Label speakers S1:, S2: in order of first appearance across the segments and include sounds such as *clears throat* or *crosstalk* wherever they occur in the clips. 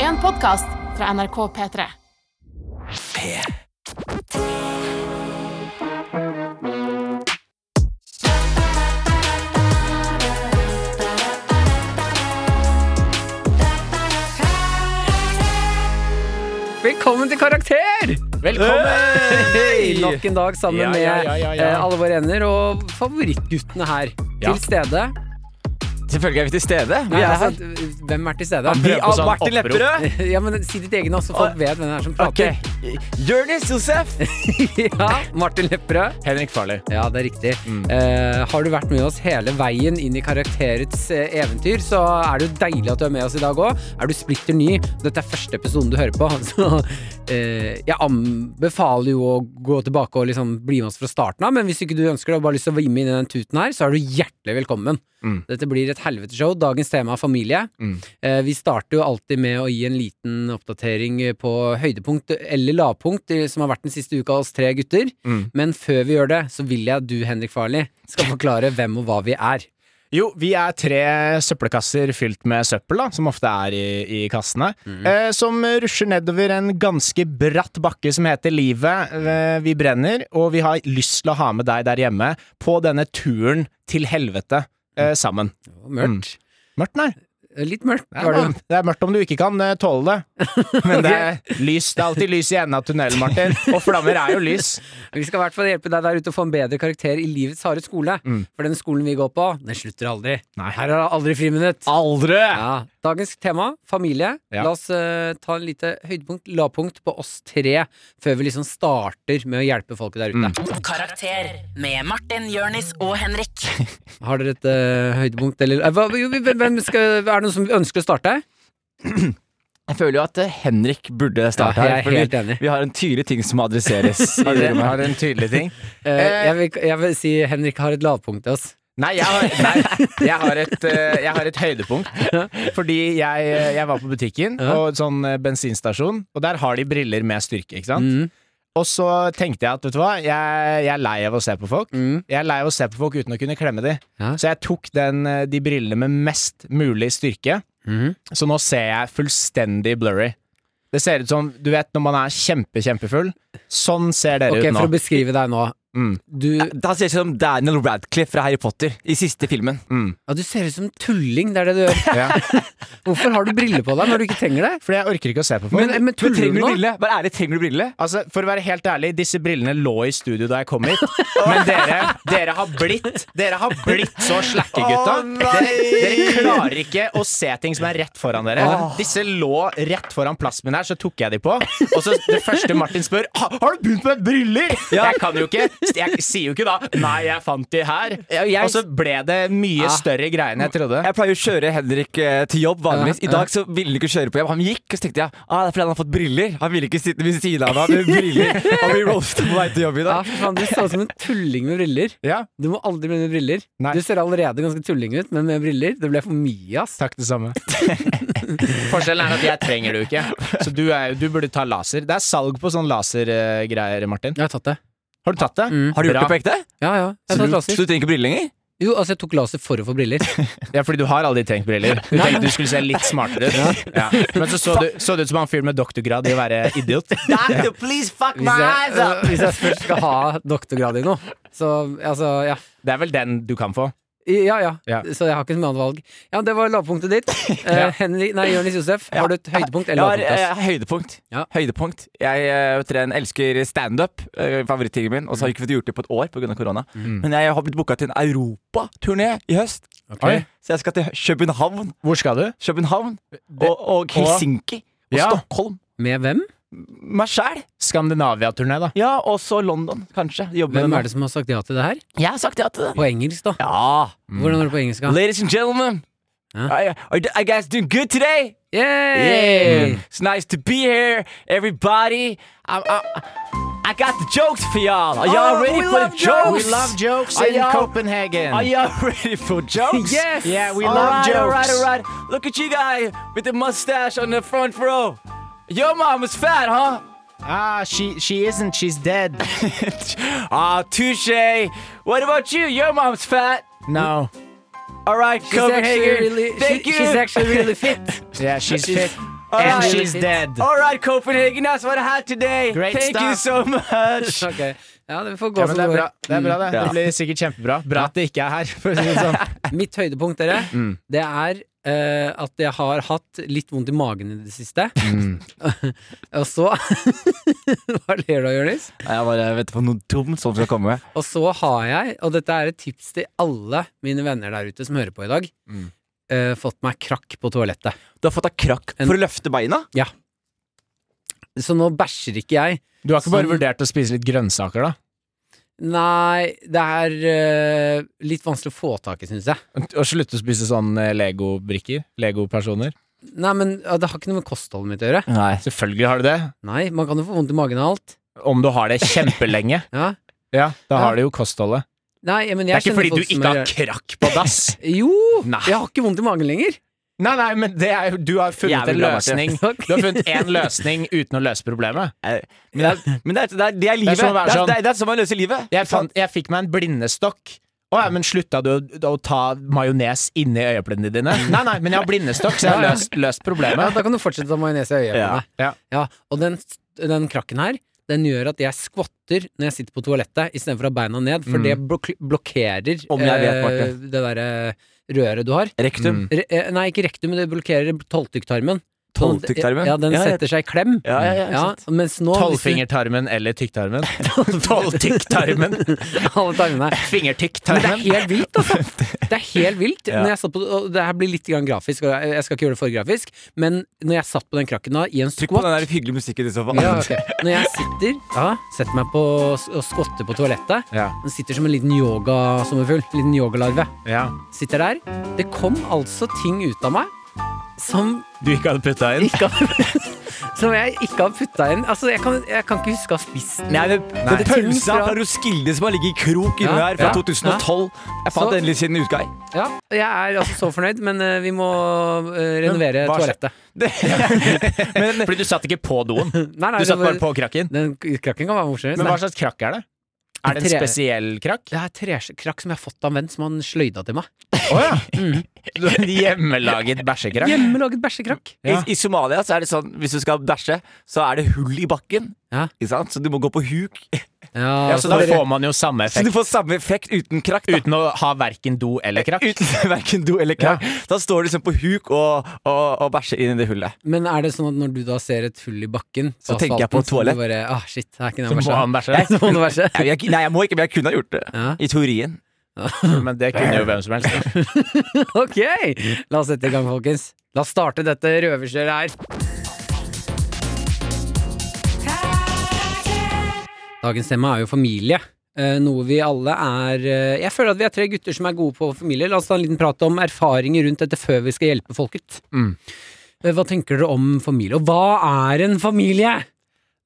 S1: en podkast fra NRK P3.
S2: Velkommen til Karakter!
S3: Velkommen!
S2: Hei! *laughs* Nok en dag sammen
S3: Ja, ja, ja, ja,
S2: med
S3: ja.
S2: eh, alle våre ender og favorittguttene her.
S3: Ja.
S2: Til stede.
S3: Selvfølgelig er vi til stede. Vi
S2: Nei,
S3: er
S2: altså,
S3: her.
S2: hvem er til stede?
S3: Vi
S4: prøver på
S3: er
S4: sånn
S3: Martin
S4: opprop.
S3: Lepperød.
S2: *laughs*
S3: Ah,
S2: Ja, men Si ditt eget navn, så folk vet hvem det er som
S3: Ok.
S2: prater.
S3: Jonis Josef.
S2: *laughs* ja, Martin Lepperød.
S4: Henrik Farley. Mm.
S2: Ja, det er riktig.
S3: Mm.
S2: Eh, har du vært med oss hele veien inn i karakterets eh, eventyr, så er det jo deilig at du er med oss i dag òg. Er du splitter ny, dette er første episoden du hører på, *laughs* så eh, jeg anbefaler jo å gå tilbake og liksom bli med oss fra starten av, men hvis ikke du ønsker det og bare har lyst til å være med inn i den tuten her, så er du hjertelig velkommen.
S3: Mm.
S2: Dette blir et helveteshow. Dagens tema er familie.
S3: Mm.
S2: Eh, vi starter jo alltid med å gi en liten oppdatering på høydepunkt eller lavpunkt eh, som har vært den siste uka av oss tre gutter.
S3: Mm.
S2: Men før vi gjør det, så vil jeg at du, Henrik Farley, skal forklare hvem og hva vi er.
S4: Jo, vi er tre søppelkasser fylt med søppel, da, som ofte er i, i kassene.
S3: Mm.
S4: Eh, som rusher nedover en ganske bratt bakke som heter Livet. Eh, vi brenner, og vi har lyst til å ha med deg der hjemme på denne turen til helvete eh, sammen.
S2: Det var Mørkt.
S4: Mørkt, nei.
S2: Eh, Litt mørkt
S4: Det
S2: var
S4: er,
S2: det.
S4: mørkt. det er mørkt om du ikke kan eh, tåle det. Men det er lys. Det er alltid lys i enden av tunnelen, Martin. Og flammer er jo lys.
S2: Vi skal i hvert fall hjelpe deg der ute å få en bedre karakter i livets harde skole.
S4: Mm.
S2: For den skolen vi går på, den slutter aldri.
S4: Nei.
S2: Her er det aldri friminutt.
S4: Aldri!
S2: Ja. Dagens tema familie.
S4: Ja.
S2: La oss eh, ta en lite høydepunkt, lavpunkt, på oss tre før vi liksom starter med å hjelpe folket der ute.
S5: Karakter med Martin, Jørnis og Henrik.
S2: Har dere et eh, høydepunkt, eller eh, hva, jo, hvem- hvem skal, Er det noen som ønsker å starte?
S3: Jeg føler jo at eh, Henrik burde starte
S2: Ja, jeg
S3: her.
S2: er
S3: fordi
S2: helt enig.
S3: Vi har en tydelig ting som
S2: *laughs*
S3: må adresseres. i
S4: Har dere-
S3: rommet her.
S4: har dere en tydelig ting?
S2: Eh, jeg, vil, jeg vil si Henrik har et lavpunkt til oss.
S4: Nei, jeg har, nei jeg, har et, eh, jeg har et høydepunkt. Fordi jeg, eh, jeg var på butikken,
S2: Ja.
S4: og sånn eh, bensinstasjon, og der har de briller med styrke. ikke sant?
S2: Mm,
S4: Og så tenkte jeg at vet du hva, jeg, jeg er lei av å se på folk.
S2: mm.
S4: Jeg er lei av å se på folk uten å kunne klemme de.
S2: Ja.
S4: Så jeg tok den, eh, de brillene med mest mulig styrke.
S2: Mhm.
S4: Så nå ser jeg fullstendig blurry. Det ser ut som du vet når man er kjempe, kjempefull. Sånn ser dere
S2: Ok,
S4: ut
S2: For å
S4: nå.
S2: beskrive deg nå.
S4: Mm.
S2: Du,
S3: Da ser jeg ut som Daniel Radcliffe fra Harry Potter i siste filmen.
S4: Mm.
S2: ja, du ser ut som en tulling, det er det du
S3: *laughs*
S2: gjør.
S4: Ja.
S2: *laughs* Hvorfor har du briller på deg når du ikke trenger det?
S4: Fordi jeg orker ikke å se på folk.
S2: Men, men tuller
S3: trenger
S2: du
S3: eh, du
S2: nå?
S3: brille? Vær ærlig, trenger du brille?
S4: Altså, For å være helt ærlig, disse brillene lå i studio da jeg kom hit. Men dere, dere har blitt Dere har blitt så slakke, gutta.
S3: Å,
S4: dere,
S3: nei!
S4: dere klarer ikke å se ting som er rett foran dere. Disse lå rett foran plassen min her, så tok jeg de på. Og så det første Martin spør, «Ha- har du begynt med briller? Jeg kan jo ikke. Jeg sier jo ikke da nei, jeg fant de her.
S3: Ja, jeg-
S4: Og så ble det mye
S2: Ah.
S4: større greier enn jeg trodde.
S3: Jeg pleier å kjøre Henrik eh, til jobb vanligvis.
S2: Ja,
S3: I dag så ville han ikke kjøre på jobb. Han gikk, og så tenkte jeg ah, det er fordi han har fått briller. Han ville ikke sitte ved siden av meg med briller. Han blir roastet på vei til jobb i
S2: Ja,
S3: dag.
S2: for faen, Du så ut som en tulling med briller.
S4: Ja,
S2: Du må aldri bli med briller.
S4: Nei.
S2: Du ser allerede ganske tulling ut, men med briller Det ble for mye, ass.
S4: Takk, det samme. *laughs* Forskjellen er at jeg trenger det jo ikke. Så du, er, du burde ta laser. Det er salg på sånn lasergreier, Martin.
S2: Jeg har tatt det.
S4: Har du tatt det?
S2: Mm.
S3: Har du gjort det på ekte?
S2: Ja, ja. Jeg
S3: Så
S2: har tatt
S3: du, så du
S2: laser.
S3: trenger ikke briller lenger?
S2: Jo, altså, jeg tok laser for å få briller.
S4: Ja, fordi du har aldri trengt briller. Du tenkte du skulle se litt smartere ut. Ja. Men så så du, så det ut som han fyren med doktorgrad i å være idiot.
S3: Doctor, please *laughs* fuck altså.
S2: Hvis jeg, øh, *laughs* hvis jeg først skal ha doktorgrad i noe. Så altså, ja.
S4: Det er vel den du kan få.
S2: I- Ja, ja.
S4: Ja.
S2: Så jeg har ikke så mye annet valg. Ja, det var lavpunktet
S4: *laughs*
S2: ditt. Eh,
S4: Ja.
S2: Henrik, nei, Jonis Josef, har du et høydepunkt eller
S3: jeg har
S2: lavpunkt?
S3: eh, høydepunkt.
S2: Ja.
S3: høydepunkt. Jeg eh, vet dere, en elsker standup, eh, favorittingen min, og så har jeg ikke fått gjort det på et år pga. korona.
S2: Mm.
S3: Men jeg har blitt booka til en europaturné i høst,
S2: ass?
S4: Oi.
S3: så jeg skal til København,
S4: Hvor skal du?
S3: København og, og Helsinki og
S4: Ja.
S3: Stockholm.
S2: Med hvem?
S3: Meg sjæl.
S4: Skandinavia-turné, da.
S3: Ja, og så London, kanskje.
S2: Hvem er det som har sagt ja til det her?
S3: Jeg har sagt ja til det.
S2: På engelsk, da.
S3: Ja.
S4: Mm.
S2: Hvordan er det på engelsk? da?
S3: Ladies and gentlemen.
S2: Huh?
S3: Are, are, are you guys doing good today?
S2: Yay!
S3: It's nice to be here, everybody. I, I, I got the jokes for y'all. Are y'all
S4: Oh,
S3: ready
S4: we
S3: for the
S4: love
S3: jokes?
S4: We love jokes in
S3: Are y'all-
S4: Copenhagen.
S3: Are y'all *laughs* ready for jokes?
S2: Yes!
S4: Yeah, we
S3: All
S4: love
S3: right, All right,
S4: jokes.
S3: all right. Look at you guy with the mustache on the front row. Your mom was fat, huh? *laughs*
S4: Ah, she, she isn't, she's dead.
S3: Ah, touche. What about you? Your mom's fat.
S4: No.
S3: All right,
S2: She's actually
S3: Copenhagen.
S2: really,
S3: Thank
S2: she,
S3: you. *laughs*
S2: she's actually really fit.
S4: Yeah, she's
S3: She's-
S4: fit. And
S3: right.
S4: she's dead.
S3: All right, Copenhagen, that's what I had today.
S4: Great
S3: Thank
S4: stuff.
S3: you
S2: *laughs*
S3: so much.
S2: Ok. Ja, det får gå
S4: Ja,
S2: som
S4: men det er
S2: går.
S4: bra, det er bra det.
S3: Ja.
S4: Det blir sikkert kjempebra. Bra at det ikke er her, for å si det sånn. *laughs*
S2: Mitt høydepunkt, dere,
S3: Mm.
S2: det er eh, at jeg har hatt litt vondt i magen i det siste.
S3: Mm.
S2: *laughs* og så *laughs* Hva ler du av, Jonis?
S3: Jeg bare venter på noe dumt som skal komme.
S2: Og så har jeg, og dette er et tips til alle mine venner der ute som hører på i dag,
S3: Mm.
S2: eh, fått meg krakk på toalettet.
S3: Du har fått deg krakk
S2: En-
S3: for å løfte beina?
S2: Så nå bæsjer ikke jeg.
S4: Du har ikke bare
S2: Sånn.
S4: vurdert å spise litt grønnsaker, da?
S2: Nei, det er eh, litt vanskelig å få tak i, syns jeg.
S4: Og slutte å spise sånn eh, Lego-brikker? Lego-personer?
S2: Nei, men ja, det har ikke noe med kostholdet mitt å gjøre.
S3: Nei.
S4: Selvfølgelig har du det.
S2: Nei, man kan jo få vondt i magen av alt.
S4: Om du har det kjempelenge.
S2: Ja.
S4: *laughs* Ja, da
S2: Ja.
S4: har du jo kostholdet.
S2: Nei, men
S4: Det
S2: jeg
S4: er ikke
S2: kjenner
S4: fordi du
S2: folk som
S4: ikke har
S2: gjør-
S4: krakk på dass.
S2: Jo!
S4: Nei.
S2: Jeg har ikke vondt i magen lenger.
S4: *laughs* Nei, nei, men det er, jo- du har funnet
S3: Jævlig
S4: en
S3: bra,
S4: *laughs*
S3: Martin.
S4: løsning. Du har funnet én løsning uten å løse problemet.
S3: Eh, Men, det er, men det, er, det, er, det er livet.
S4: Det er som å være
S3: Det er-
S4: sånn-
S3: det er- det er sånn man løser livet.
S4: Jeg, fant, jeg fikk meg en blindestokk. Å ja, men slutta du å, å ta majones inni øyeepplene *laughs* dine? Nei, nei, men jeg har blindestokk, så jeg har løst,
S2: Ja,
S4: løst problemet.
S2: da kan du fortsette å ha majones i øyeeplene.
S4: Ja.
S2: Ja, og den, den krakken her, den gjør at jeg skvatter når jeg sitter på toalettet istedenfor å ha beina ned, for
S4: Mm.
S2: det blok blokkerer
S3: Om jeg vet,
S2: eh,
S3: Martin.
S2: det derre røret du har.
S4: Mm.
S3: Rektum.
S2: Re eh, nei, ikke rektum, men det blokkerer tolvtykktarmen. Sånn at-
S3: Tolvtykktarmen?
S2: Ja, den
S3: Ja, ja.
S2: setter seg i klem.
S3: Ja, ja, ja, ikke sant.
S2: mens nå hvis du-
S4: Tolvfingertarmen eller *laughs* tykktarmen? Tolvtykktarmen.
S2: *laughs* Alle tarmene. Men det er
S4: Fingertykktarmen.
S2: helt vilt, altså. Det er helt vilt.
S3: Ja.
S2: Når jeg satt på, og det her blir litt grann grafisk, og jeg jeg skal ikke gjøre det for grafisk, men når jeg satt på den krakken da, i en
S3: Trykk på
S2: squat
S3: den der hyggelige musikken i så fall.
S2: ja, ok. Når jeg sitter, ja, setter meg på s- og skvatter på toalettet
S4: Ja,
S2: Den sitter som en liten yogasommerfugl. En liten yogalarve.
S4: ja.
S2: Sitter der. Det kom altså ting ut av meg som,
S4: Du ikke hadde putta inn?
S2: ikke har, *laughs* som jeg ikke har putta inn. Altså, jeg kan, jeg kan ikke huske å ha spist den.
S3: *laughs* Nei, men
S2: det
S3: pølsa
S2: finnes fra-
S3: fra Roskilde som har ligget i krok inni
S2: Ja,
S3: her
S2: ja,
S3: fra 2012. Jeg fant
S2: Så-
S3: endelig sin utgang.
S2: Ja, jeg er altså så fornøyd, men eh, vi må eh, renovere
S3: hva skje-
S2: toalettet.
S3: *laughs* Det, *laughs*
S4: *laughs*
S3: men
S4: Fordi du satt ikke på doen.
S2: Nei, nei,
S4: Du
S2: det
S4: satt
S2: var-
S4: bare på krakken.
S2: Den krakken kan være morsom.
S4: Men
S2: Nei.
S4: hva slags krakk er det? Er det en
S2: Tre-
S4: spesiell krakk?
S2: Det er trekrakk som jeg har fått av en venn, som han sløyda til meg.
S4: Å *laughs* ja. Du har en hjemmelaget bæsjekrakk?
S2: Hjemmelaget bæsjekrakk.
S4: Ja.
S3: I, I Somalia så er det sånn hvis du skal bæsje, så er det hull i bakken.
S2: Ja.
S3: Ikke sant? Så du må gå på huk.
S4: Ja, så da får man jo samme
S3: Så du
S4: effekt
S3: får samme effekt uten krakk. Da.
S4: uten å ha verken do eller krakk.
S3: Uten *laughs* verken do eller krakk. Da står du liksom på huk og, og, og bæsjer inn i det hullet.
S2: Men er det sånn at når du da ser et hull i bakken
S3: Så tenker jeg på
S2: asfalten, så
S3: toalett.
S2: du Bare, ah, shit, her kunne
S4: Så
S2: jeg
S4: må
S2: bæsja.
S4: han bæsje.
S2: *laughs* Så må du bæsje.
S3: Jeg, jeg, nei, jeg må ikke, men jeg kunne ha gjort det.
S2: Ja.
S3: I teorien.
S4: Men det kunne jo hvem som helst.
S2: *laughs* Ok, la oss sette i gang, folkens. La oss starte dette røverkjøret her. Dagens tema er jo familie. eh, Noe vi alle er eh, Jeg føler at vi er tre gutter som er gode på familie. La oss ta en liten prat om erfaringer rundt dette før vi skal hjelpe folk ut.
S4: Mm.
S2: Eh, Hva tenker dere om familie? Og hva er en familie?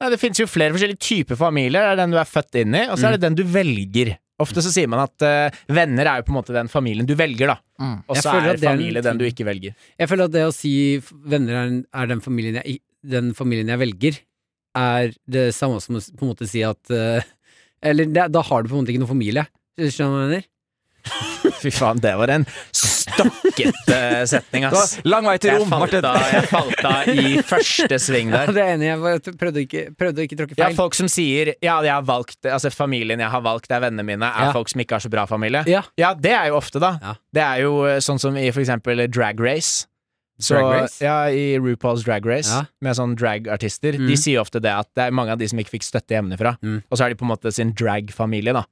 S4: Nei, det finnes jo flere forskjellige typer familier. Det er den du er født inn i, og så
S2: Mm.
S4: er det den du velger. Ofte så sier man at eh, venner er jo på en måte den familien du velger, da. Og
S2: Mm. Jeg
S4: så
S2: føler
S4: er
S2: at det er en
S4: familie den du ikke velger.
S2: Jeg føler at det å si f- venner er, er den, familien jeg, i- den familien jeg velger, er det samme som å s- på en måte si at eh, Eller det, da har du på en måte ikke noen familie. Skjønner du hva jeg mener?
S4: Fy faen, det var en stokkete
S2: *laughs*
S4: setning,
S3: Det
S4: ass.
S3: var lang vei til
S4: Jeg
S3: rom,
S4: falt,
S3: Martin.
S4: av, jeg falt av i første sving
S2: *laughs* Ja,
S4: der.
S2: det er jeg enig, i. jeg var- prøvde å ikke, prøvde å ikke tråkke
S4: Ja,
S2: feil.
S4: folk som sier Ja, jeg har valgt Altså familien jeg har valgt er vennene mine Er
S2: Ja.
S4: folk som ikke har så bra familie
S2: Ja.
S4: det er jo ofte da
S2: Ja.
S4: Det er jo eh, sånn som i for eksempel Drag Race så,
S2: Drag Race?
S4: Ja, i RuPaul's Drag Race
S2: Ja.
S4: Med sånn dragartister
S2: Mm.
S4: De sier ofte det at det er mange av de som ikke fikk støtte hjemmefra
S2: Mm.
S4: Og så er de på en måte sin drag-familie da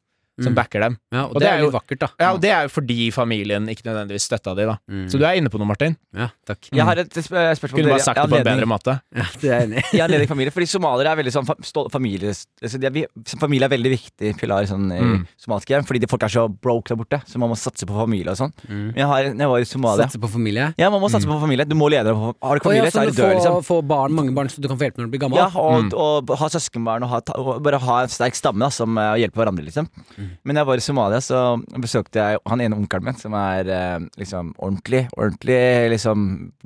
S4: Som
S2: Mm.
S4: backer dem
S2: Ja, og,
S4: og
S2: det,
S4: det
S2: er
S4: er
S2: jo
S4: jo-
S2: vakkert, da.
S4: Ja, og det er jo fordi familien ikke nødvendigvis støtta de da
S2: Mm.
S4: Så du er inne på noe, Martin
S2: ja, takk.
S3: *laughs* Jeg har et sp- spørsmål
S4: Kunne
S3: til
S4: du bare
S3: dere.
S4: sagt
S3: Ja,
S4: det på en
S3: anledning.
S4: bedre måte
S2: Ja, *laughs* det er jeg enig i.
S3: Jeg har ledig familie, fordi somaliere er veldig sånn fa- stå- familie altså de er, vi- så Familie er veldig viktig pilar sånn, i
S4: Mm.
S3: somaliske hjem, fordi de folk er så broke der borte, så man må satse på familie og sånn.
S2: Mm.
S3: Men Jeg, har, når jeg var i Somalia
S2: Satse på familie.
S3: Ja, man må satse på familie. Du må lede deg på Har du ikke familie,
S2: Å ja,
S3: så
S2: så
S3: er
S2: du
S3: du død, liksom.
S2: får, får barn, mange barn, så du kan få hjelp når du blir gammel?
S3: Ja, og,
S2: Mm.
S3: og ha søskenbarn og, ha, ta- og bare ha en sterk stamme da, som eh, hjelper hverandre, liksom.
S2: Mm.
S3: Men da jeg var i Somalia, så besøkte jeg han ene onkelen min, som er eh, liksom ordentlig, ordentlig liksom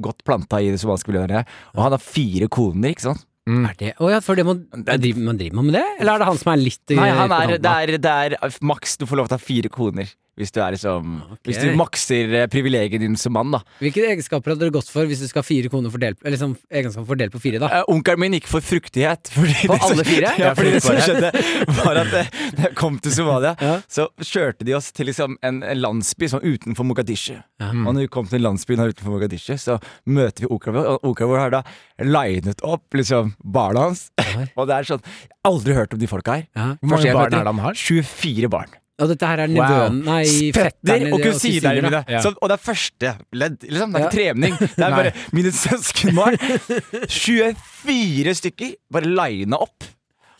S3: godt planta i det somaliske miljøet. Og han har fire koner, ikke sant.
S2: Er det, å ja, for det må,
S3: er-
S2: driver, man driver man med det? Eller er det han som er litt i-
S3: Nei,
S2: på
S3: han er,
S2: kanten
S3: det,
S2: av?
S3: er, det er maks du får lov til å ha fire koner. Hvis du, er liksom,
S2: Ok.
S3: hvis du makser eh, privilegiet din som mann, da.
S2: Hvilke egenskaper hadde du gått for hvis du skal ha fire koner fordelt, eller liksom, egenskaper fordelt på fire, da?
S3: Eh, Onkelen min gikk for fruktighet. *laughs* Fordi
S2: For
S3: det som-
S2: alle fire?
S3: Ja, fordi det som skjedde,
S2: fruktbarhet.
S3: var at eh, da jeg kom til Somalia,
S2: Ja.
S3: så kjørte de oss til liksom en, en landsby sånn utenfor Mogadishu.
S2: Ja.
S3: Og når vi kom til landsbyen her utenfor Mogadishu, så møter vi onkelen vår, og onkelen vår har da linet opp liksom barna hans.
S2: Oi.
S3: *laughs* Og det er sånn Jeg har aldri hørt om de folka her.
S2: Ja.
S4: Hvor mange
S3: Første jeg
S4: barn
S3: møter,
S4: er det han har?
S3: 24 barn.
S2: Og dette her er nevøen Nei,
S3: Fetter
S2: fetterne
S3: og kusiner mine.
S2: Ja.
S3: Så, og det er første ledd. Liksom. Det er ikke
S2: Ja.
S3: trening.
S2: *laughs*
S3: Det er
S4: Nei.
S3: bare mine søskenbarn. 24 stykker bare lina opp,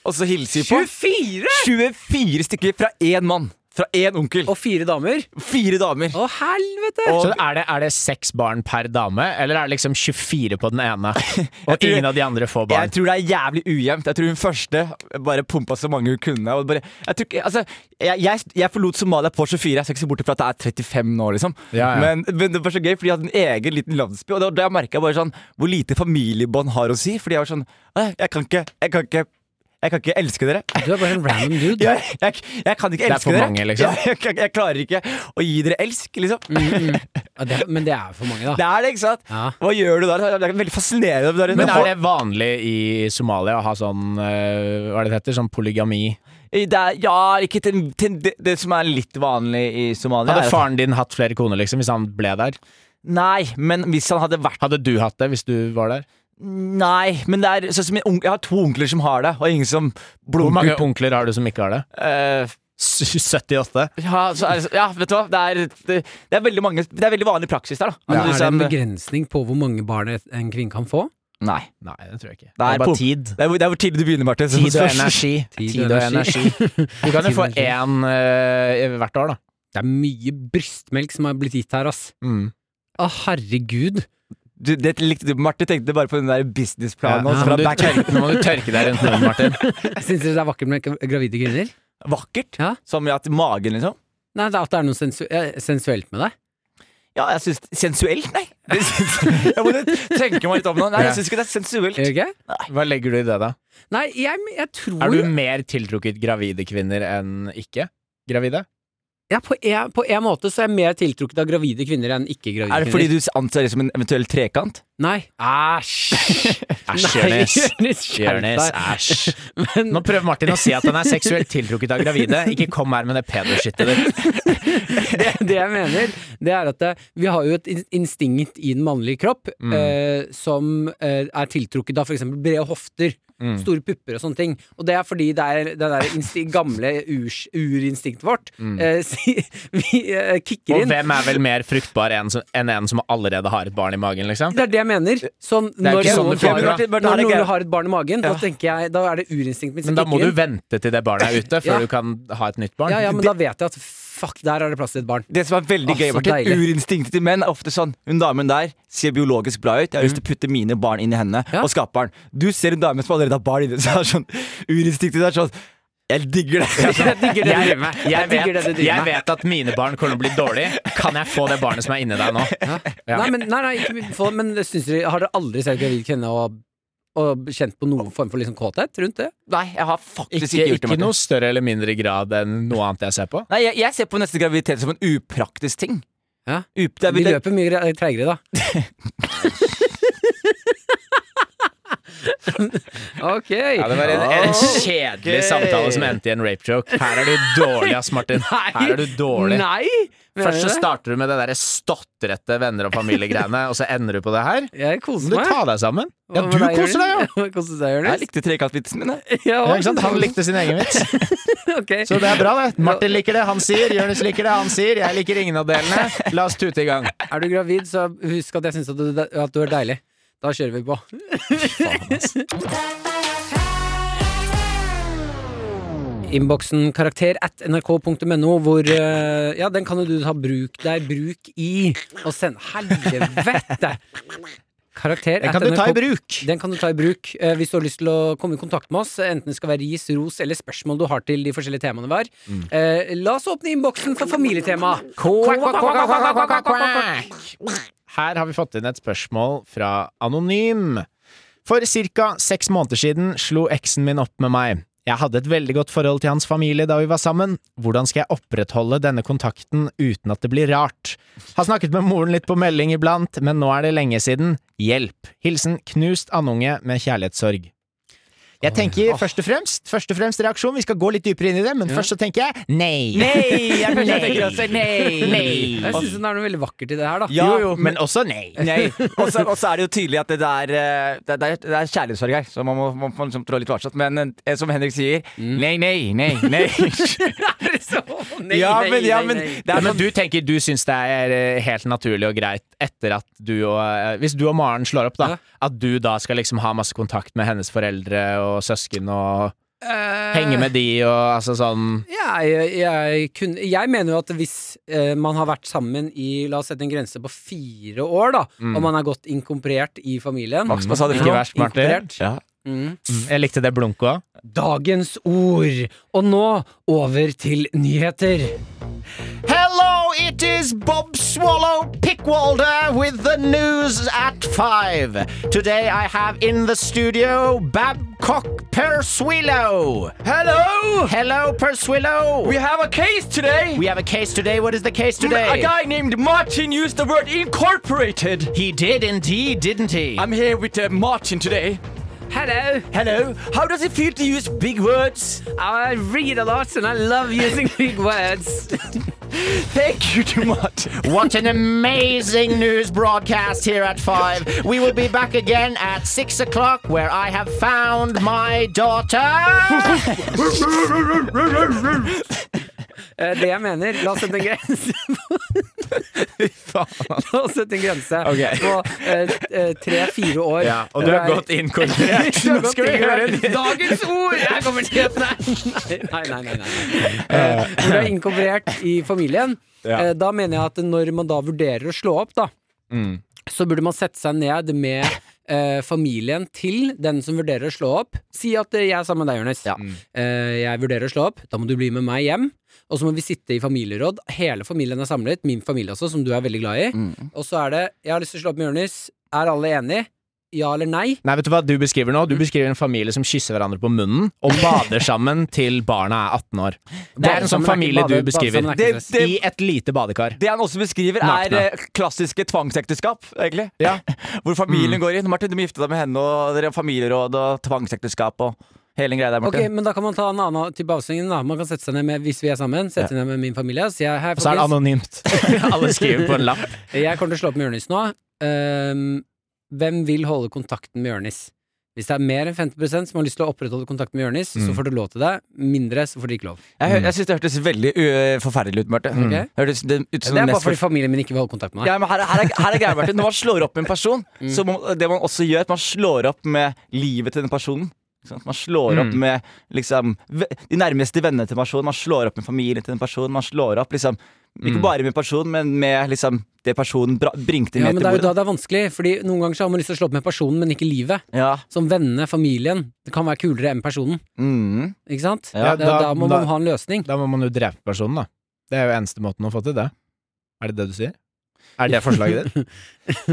S3: og så hilser vi på.
S2: 24!
S3: 24 stykker fra én mann. Fra én onkel.
S2: Og fire damer.
S3: Fire damer.
S2: Å, helvete!
S3: Og-
S4: Så er det, er det seks barn per dame, eller er det liksom 24 på den
S2: *laughs*
S4: ene, og
S3: tror-
S4: ingen av de andre får barn?
S3: Jeg tror det er jævlig ujevnt. Jeg tror hun første bare pumpa så mange hun kunne. Og bare, jeg, tror, ikke- altså, jeg, jeg, jeg forlot Somalia på 24. Jeg skal ikke se bort fra at det er 35 nå, liksom.
S4: Ja, ja.
S3: Men, men det var så gøy, for de hadde en egen liten landsby. Og da, da merka jeg bare sånn hvor lite familiebånd har å si. Fordi jeg var sånn «Åh, Jeg kan ikke Jeg kan ikke jeg kan ikke elske dere. *laughs*
S2: Du er bare en random dude.
S3: Jeg, jeg, jeg kan ikke
S4: er
S3: elske
S4: for
S3: dere.
S4: mange,
S3: *laughs*
S4: liksom. Mm,
S3: Jeg, jeg, kan- jeg klarer ikke å gi dere elsk, liksom.
S2: Ja, det, men det er for mange, da.
S3: *laughs* Det er det, ikke sant?
S2: Ja.
S3: Hva gjør du da? Det er veldig fascinerende. det der.
S4: Men er det vanlig i Somalia å ha sånn eh, Hva er det det heter? Sånn polygami?
S3: Det er, ja, ikke til, til det, det som er litt vanlig i Somalia. er
S4: Hadde
S3: at-
S4: faren din hatt flere koner, liksom, hvis han ble der?
S3: Nei, men hvis han hadde vært
S4: Hadde du hatt det hvis du var der?
S3: Nei, men det er sånn som min onk- Jeg har to onkler som har det, og ingen som
S4: Hvor
S3: blunker.
S4: mange onkler har du som ikke har det?
S3: Eh,
S4: S- 78?
S3: ja, så er, det- ja, vet du hva. Det er, det, det er veldig mange Det er veldig vanlig praksis der, da.
S2: Men
S3: At du
S2: er det en
S3: liksom-
S2: begrensning på hvor mange barn et- en kvinne kan få?
S3: nei.
S4: Nei, det tror jeg ikke.
S3: Det
S4: bare
S3: er pump-
S4: tid.
S3: Det er, hvor- det er hvor tidlig du begynner, Martin. så-
S4: Tid og
S3: så-
S4: energi.
S2: Tid og
S4: Tid og energi.
S2: *laughs* energi.
S4: Du kan jo få
S2: Tid og energi.
S4: én eh, hvert år, da.
S2: Det er mye brystmelk som har blitt gitt her, ass. Å, herregud.
S3: *laughs* Du, det likte du. Martin tenkte bare på den der
S4: Ja,
S3: businessplanen
S4: men
S3: hans fra
S4: du
S3: back
S4: tør- nå må du tørke deg rundt munnen, Martin.
S2: Syns dere det er vakkert med gra- gravide kvinner?
S3: Vakkert.
S2: Ja.
S3: Som i at magen, liksom.
S2: Nei, det er at det er noe sensu eh, sensuelt med det.
S3: Ja, jeg syns Sensuelt, nei. *laughs* Det syns- jeg må tenke meg litt om nå. Nei, jeg syns ikke det er sensuelt.
S2: Er det ikke?
S4: Hva legger du i det, da?
S2: Nei, jeg, jeg tror
S4: Er du mer tiltrukket gravide kvinner enn ikke? Gravide?
S2: ja, på, en, på en måte så er jeg mer tiltrukket av gravide kvinner enn ikke-gravide kvinner.
S3: Er det fordi du anser det som en eventuell trekant?
S2: Nei. Æsj!
S4: Æsj,
S2: Nei, *laughs*
S4: Jonis.
S2: skjerp
S4: Jonis,
S2: deg.
S4: æsj.
S2: Men-
S4: *laughs* Nå prøver Martin å si at han er seksuelt tiltrukket av gravide. Ikke kom her med det pedoshittet *laughs* ditt.
S2: det, *laughs* det jeg mener, det er at eh, vi har jo et in- instinkt i den mannlige kropp
S4: Mm.
S2: eh, som eh, er tiltrukket av f.eks. brede hofter,
S4: Mm.
S2: store pupper og sånne ting. Og det er fordi det er det der insti gamle urs, urinstinktet vårt eh, *laughs* si, vi, eh, kicker
S4: Mm. Og
S2: inn.
S4: hvem er vel mer fruktbar enn som- enn en som allerede har et barn i magen, liksom?
S2: Det er det jeg mener. Sånn,
S4: er
S2: når
S4: ikke sånn
S2: noen,
S4: det fungerer,
S2: har,
S3: da.
S2: når
S3: Det er
S2: noen
S3: ikke-
S2: har et barn i magen, da tenker jeg Da er det urinstinktet mitt
S4: Men
S2: som
S4: da må
S2: kicker
S4: du
S2: inn.
S4: vente til det barnet er ute,
S2: Ja.
S4: før du kan ha et nytt barn.
S2: Ja, ja, men da vet jeg at fuck, der er det plass til et barn.
S3: Det som er veldig
S2: Ah,
S3: gøy,
S2: så
S3: Martin,
S2: deilig.
S3: urinstinktet til menn er ofte sånn Hun damen der ser biologisk bra ut, jeg har lyst til å putte mine barn inn i henne
S2: Ja.
S3: og skape barn. Du ser en dame som allerede har barn inni seg, sånn, urinstinktet ditt er sånn Jeg digger det!
S2: Jeg digger det du
S4: Jeg,
S2: driver med.
S4: jeg,
S2: digger det
S4: vet,
S2: du driver
S4: jeg
S2: med.
S4: vet at mine barn kommer til å bli dårlige. Kan jeg få det barnet som er inni deg nå? Ja.
S2: Nei, men, nei, nei, ikke, for, men syns dere, har dere aldri sett gravid kvinne og, og kjent på noen form for liksom kåthet rundt det?
S3: *laughs* Nei, jeg har faktisk ikke,
S4: Ikke,
S3: gjort det,
S4: ikke
S3: Martin.
S4: noe større eller mindre grad enn noe annet jeg ser på.
S3: Nei, jeg, jeg ser på neste graviditet som en upraktisk ting.
S2: Ja.
S3: Up, det er,
S2: De
S3: det,
S2: løper mye gre-
S4: *laughs*
S2: treigere, da. ok.
S4: Ja, det var en, en kjedelig samtale som endte i en rape joke. Her er du dårlig, ass, Martin. Her er du dårlig.
S2: Nei! mener
S4: Først så
S2: du det?
S4: starter du med det derre stotrete venner og familiegreiene, og så ender du på det her.
S2: Jeg
S4: Må
S2: koser
S4: du
S2: meg.
S4: ta deg sammen. Ja,
S2: Hva
S4: du
S2: med
S4: koser deg, ja.
S2: Jonis? *laughs* Hva koser deg,
S3: jeg
S2: Jonis?
S3: likte trekantvitsen min, jeg.
S2: Ja,
S4: Ja, ikke sant?
S2: *laughs*
S4: Han likte sin egen vits.
S2: Ok.
S4: Så det er bra, det. Martin liker det, han sier. Jonis liker det, han sier. Jeg liker ingen av delene. La oss tute i gang.
S2: Er du gravid, så husk at jeg syns at, du- at du er deilig. Da kjører vi på. Innboksen karakter at nrk.no, hvor eh, Ja, den kan jo du ta bruk deg, bruk i, og send Helvete! Karakter
S4: Den
S2: at
S4: kan du ta i
S2: NRK
S4: bruk.
S2: Den kan du ta i bruk eh, hvis du har lyst til å komme i kontakt med oss. Enten det skal være ris, ros eller spørsmål du har til de forskjellige temaene vi har. Eh, la oss åpne innboksen for familietema. Quack, quack, quack, quack, quack, quack, quack, quack, quack.
S4: Her har vi fått inn et spørsmål fra Anonym. For ca. seks måneder siden slo eksen min opp med meg. Jeg hadde et veldig godt forhold til hans familie da vi var sammen. Hvordan skal jeg opprettholde denne kontakten uten at det blir rart? Har snakket med moren litt på melding iblant, men nå er det lenge siden. Hjelp! Hilsen knust andunge med kjærlighetssorg. Jeg tenker først og fremst, først og fremst reaksjon, vi skal gå litt dypere inn i det, men først så tenker jeg nei.
S3: Nei! Jeg
S4: første jeg tenker også,
S3: nei!
S4: Nei.
S2: Jeg syns det er noe veldig vakkert i det her, da.
S3: Ja,
S4: Jo,
S2: *laughs*
S4: jo, men også nei.
S3: *laughs* Nei. Og så og så er det jo tydelig at det er, eh, det er, det er kjærlighetssorg her, så man må, man må liksom trå litt varsomt. Men eh, som Henrik sier, nei, nei, nei, *laughs* nei.
S2: Nei,
S3: ja,
S2: nei,
S3: men, ja,
S2: nei,
S3: men
S2: nei.
S3: det
S4: Ja,
S3: er
S4: men
S3: sånn
S4: du tenker du syns det er eh, helt naturlig og greit etter at du og eh, Hvis du og Maren slår opp, da.
S2: Ja.
S4: At du da skal liksom ha masse kontakt med hennes foreldre og søsken og henge med de og altså sånn
S2: Ja, jeg, jeg, kunne, jeg mener jo at hvis eh, man har vært sammen i La oss sette en grense på fire år, da, og man er godt inkomparert i familien
S3: Mm. Max, hva sa du
S4: Ikke
S3: for noe?
S4: vær smart, det.
S2: Inkorporert.
S3: Ja.
S2: Mm.
S4: Jeg likte det blunket òg.
S2: Dagens ord! Og nå over til nyheter.
S4: Hello, it is Bob Swallow Pickwalder with the news at five. Today I have in the studio Babcock Perswillo.
S3: Hello!
S4: Hello, Perswillo.
S3: We have a case today!
S4: We have a case today. What is the case today?
S3: A guy named Martin used the word incorporated.
S4: He did indeed, didn't he? *laughs*
S3: I'm here with uh, Martin today.
S2: Hello,
S3: Hello. How does it feel to use big *laughs* words?
S2: I read a lot and I love using big words.
S3: Thank you to *laughs* Martin.
S4: what an amazing news broadcast here at 5. We will be back again at 6 o'clock where I have found my daughter.
S2: Eh, Det jeg mener, la oss sette en grense *laughs* La oss sette en grense
S4: Ok.
S2: på eh, eh, tre-fire år. Der-
S4: inkorporert.
S3: *laughs*
S2: Du har gått inn i det. Dagens ord! Jeg kommer til å Nei, nei, nei. nei, nei. Eh, Hvor du er inkorporert i familien.
S4: Ja.
S2: eh, Da mener jeg at når man da vurderer å slå opp, da, så burde man sette seg ned med eh, familien til den som vurderer å slå opp. Si at eh, jeg er sammen med deg, Jonis. Eh, jeg vurderer å slå opp. Da må du bli med meg hjem. Og så må vi sitte i familieråd. Hele familien er samlet. Min familie også, som du er veldig glad i. Og så er det 'Jeg har lyst til å slå opp med Jonis'. Er alle enige? Ja eller nei?
S4: *laughs* Nei, vet du hva du beskriver nå? Du beskriver en familie som kysser hverandre på munnen og bader sammen til barna er 18 år. Det er en sånn familie du beskriver.
S3: Det- det-
S4: I et lite badekar.
S3: Det han også beskriver,
S4: Nakne.
S3: er eh, klassiske tvangsekteskap. egentlig
S4: Ja.
S3: *laughs*
S4: Mm.
S3: Hvor familien går inn. Martin, du må gifte deg med henne, og dere har familieråd og tvangsekteskap og hele den greia der,
S2: Ok,
S3: Martin.
S2: men da kan man ta en annen type avstemning. da. Man kan sette seg ned med, hvis vi er sammen, sette seg ned med min familie. Så jeg, hei,
S4: Og så er det
S2: folkens,
S4: anonymt. Alle skriver på en lapp.
S2: jeg kommer til å slå opp med Jonis nå. Ehm, hvem vil holde kontakten med Jonis? Hvis det er mer enn 50 som har lyst til å opprettholde kontakten med Jonis, så får du lov til det. Mindre, så får de ikke lov.
S3: Jeg, hø- jeg syns det hørtes veldig ø, forferdelig ut, Martin.
S4: Mm.
S2: Ok.
S3: Det Hørtes det ut som
S2: Det er
S3: den
S2: bare
S3: mest
S2: fordi familien min ikke vil holde kontakt med deg.
S3: Ja, men her, er- her, er, her er greia, Martin. Når man slår opp med en person,
S4: Mm.
S3: så må, det man også gjør, at man slår opp med livet til den personen. Ikke sant? Man slår
S4: Mm.
S3: opp med liksom, ve- de nærmeste vennene til en person, man slår opp med familien til en person. Man slår opp liksom,
S4: Mm.
S3: ikke bare med personen, men med liksom, det personen bra, bringte
S2: Ja,
S3: med
S2: men det
S3: til
S2: er jo da
S3: bordet.
S2: det er vanskelig, Fordi noen ganger så har man lyst til å slå opp med personen, men ikke livet.
S3: Ja,
S2: Som vennene, familien. Det kan være kulere enn personen,
S3: mm.
S2: ikke sant?
S4: Ja,
S2: da, da
S4: da-
S2: må
S4: da-
S2: man ha en løsning.
S4: Da må man jo drepe personen, da. Det er jo eneste måten å få til det. Er det det du sier? Er det forslaget ditt?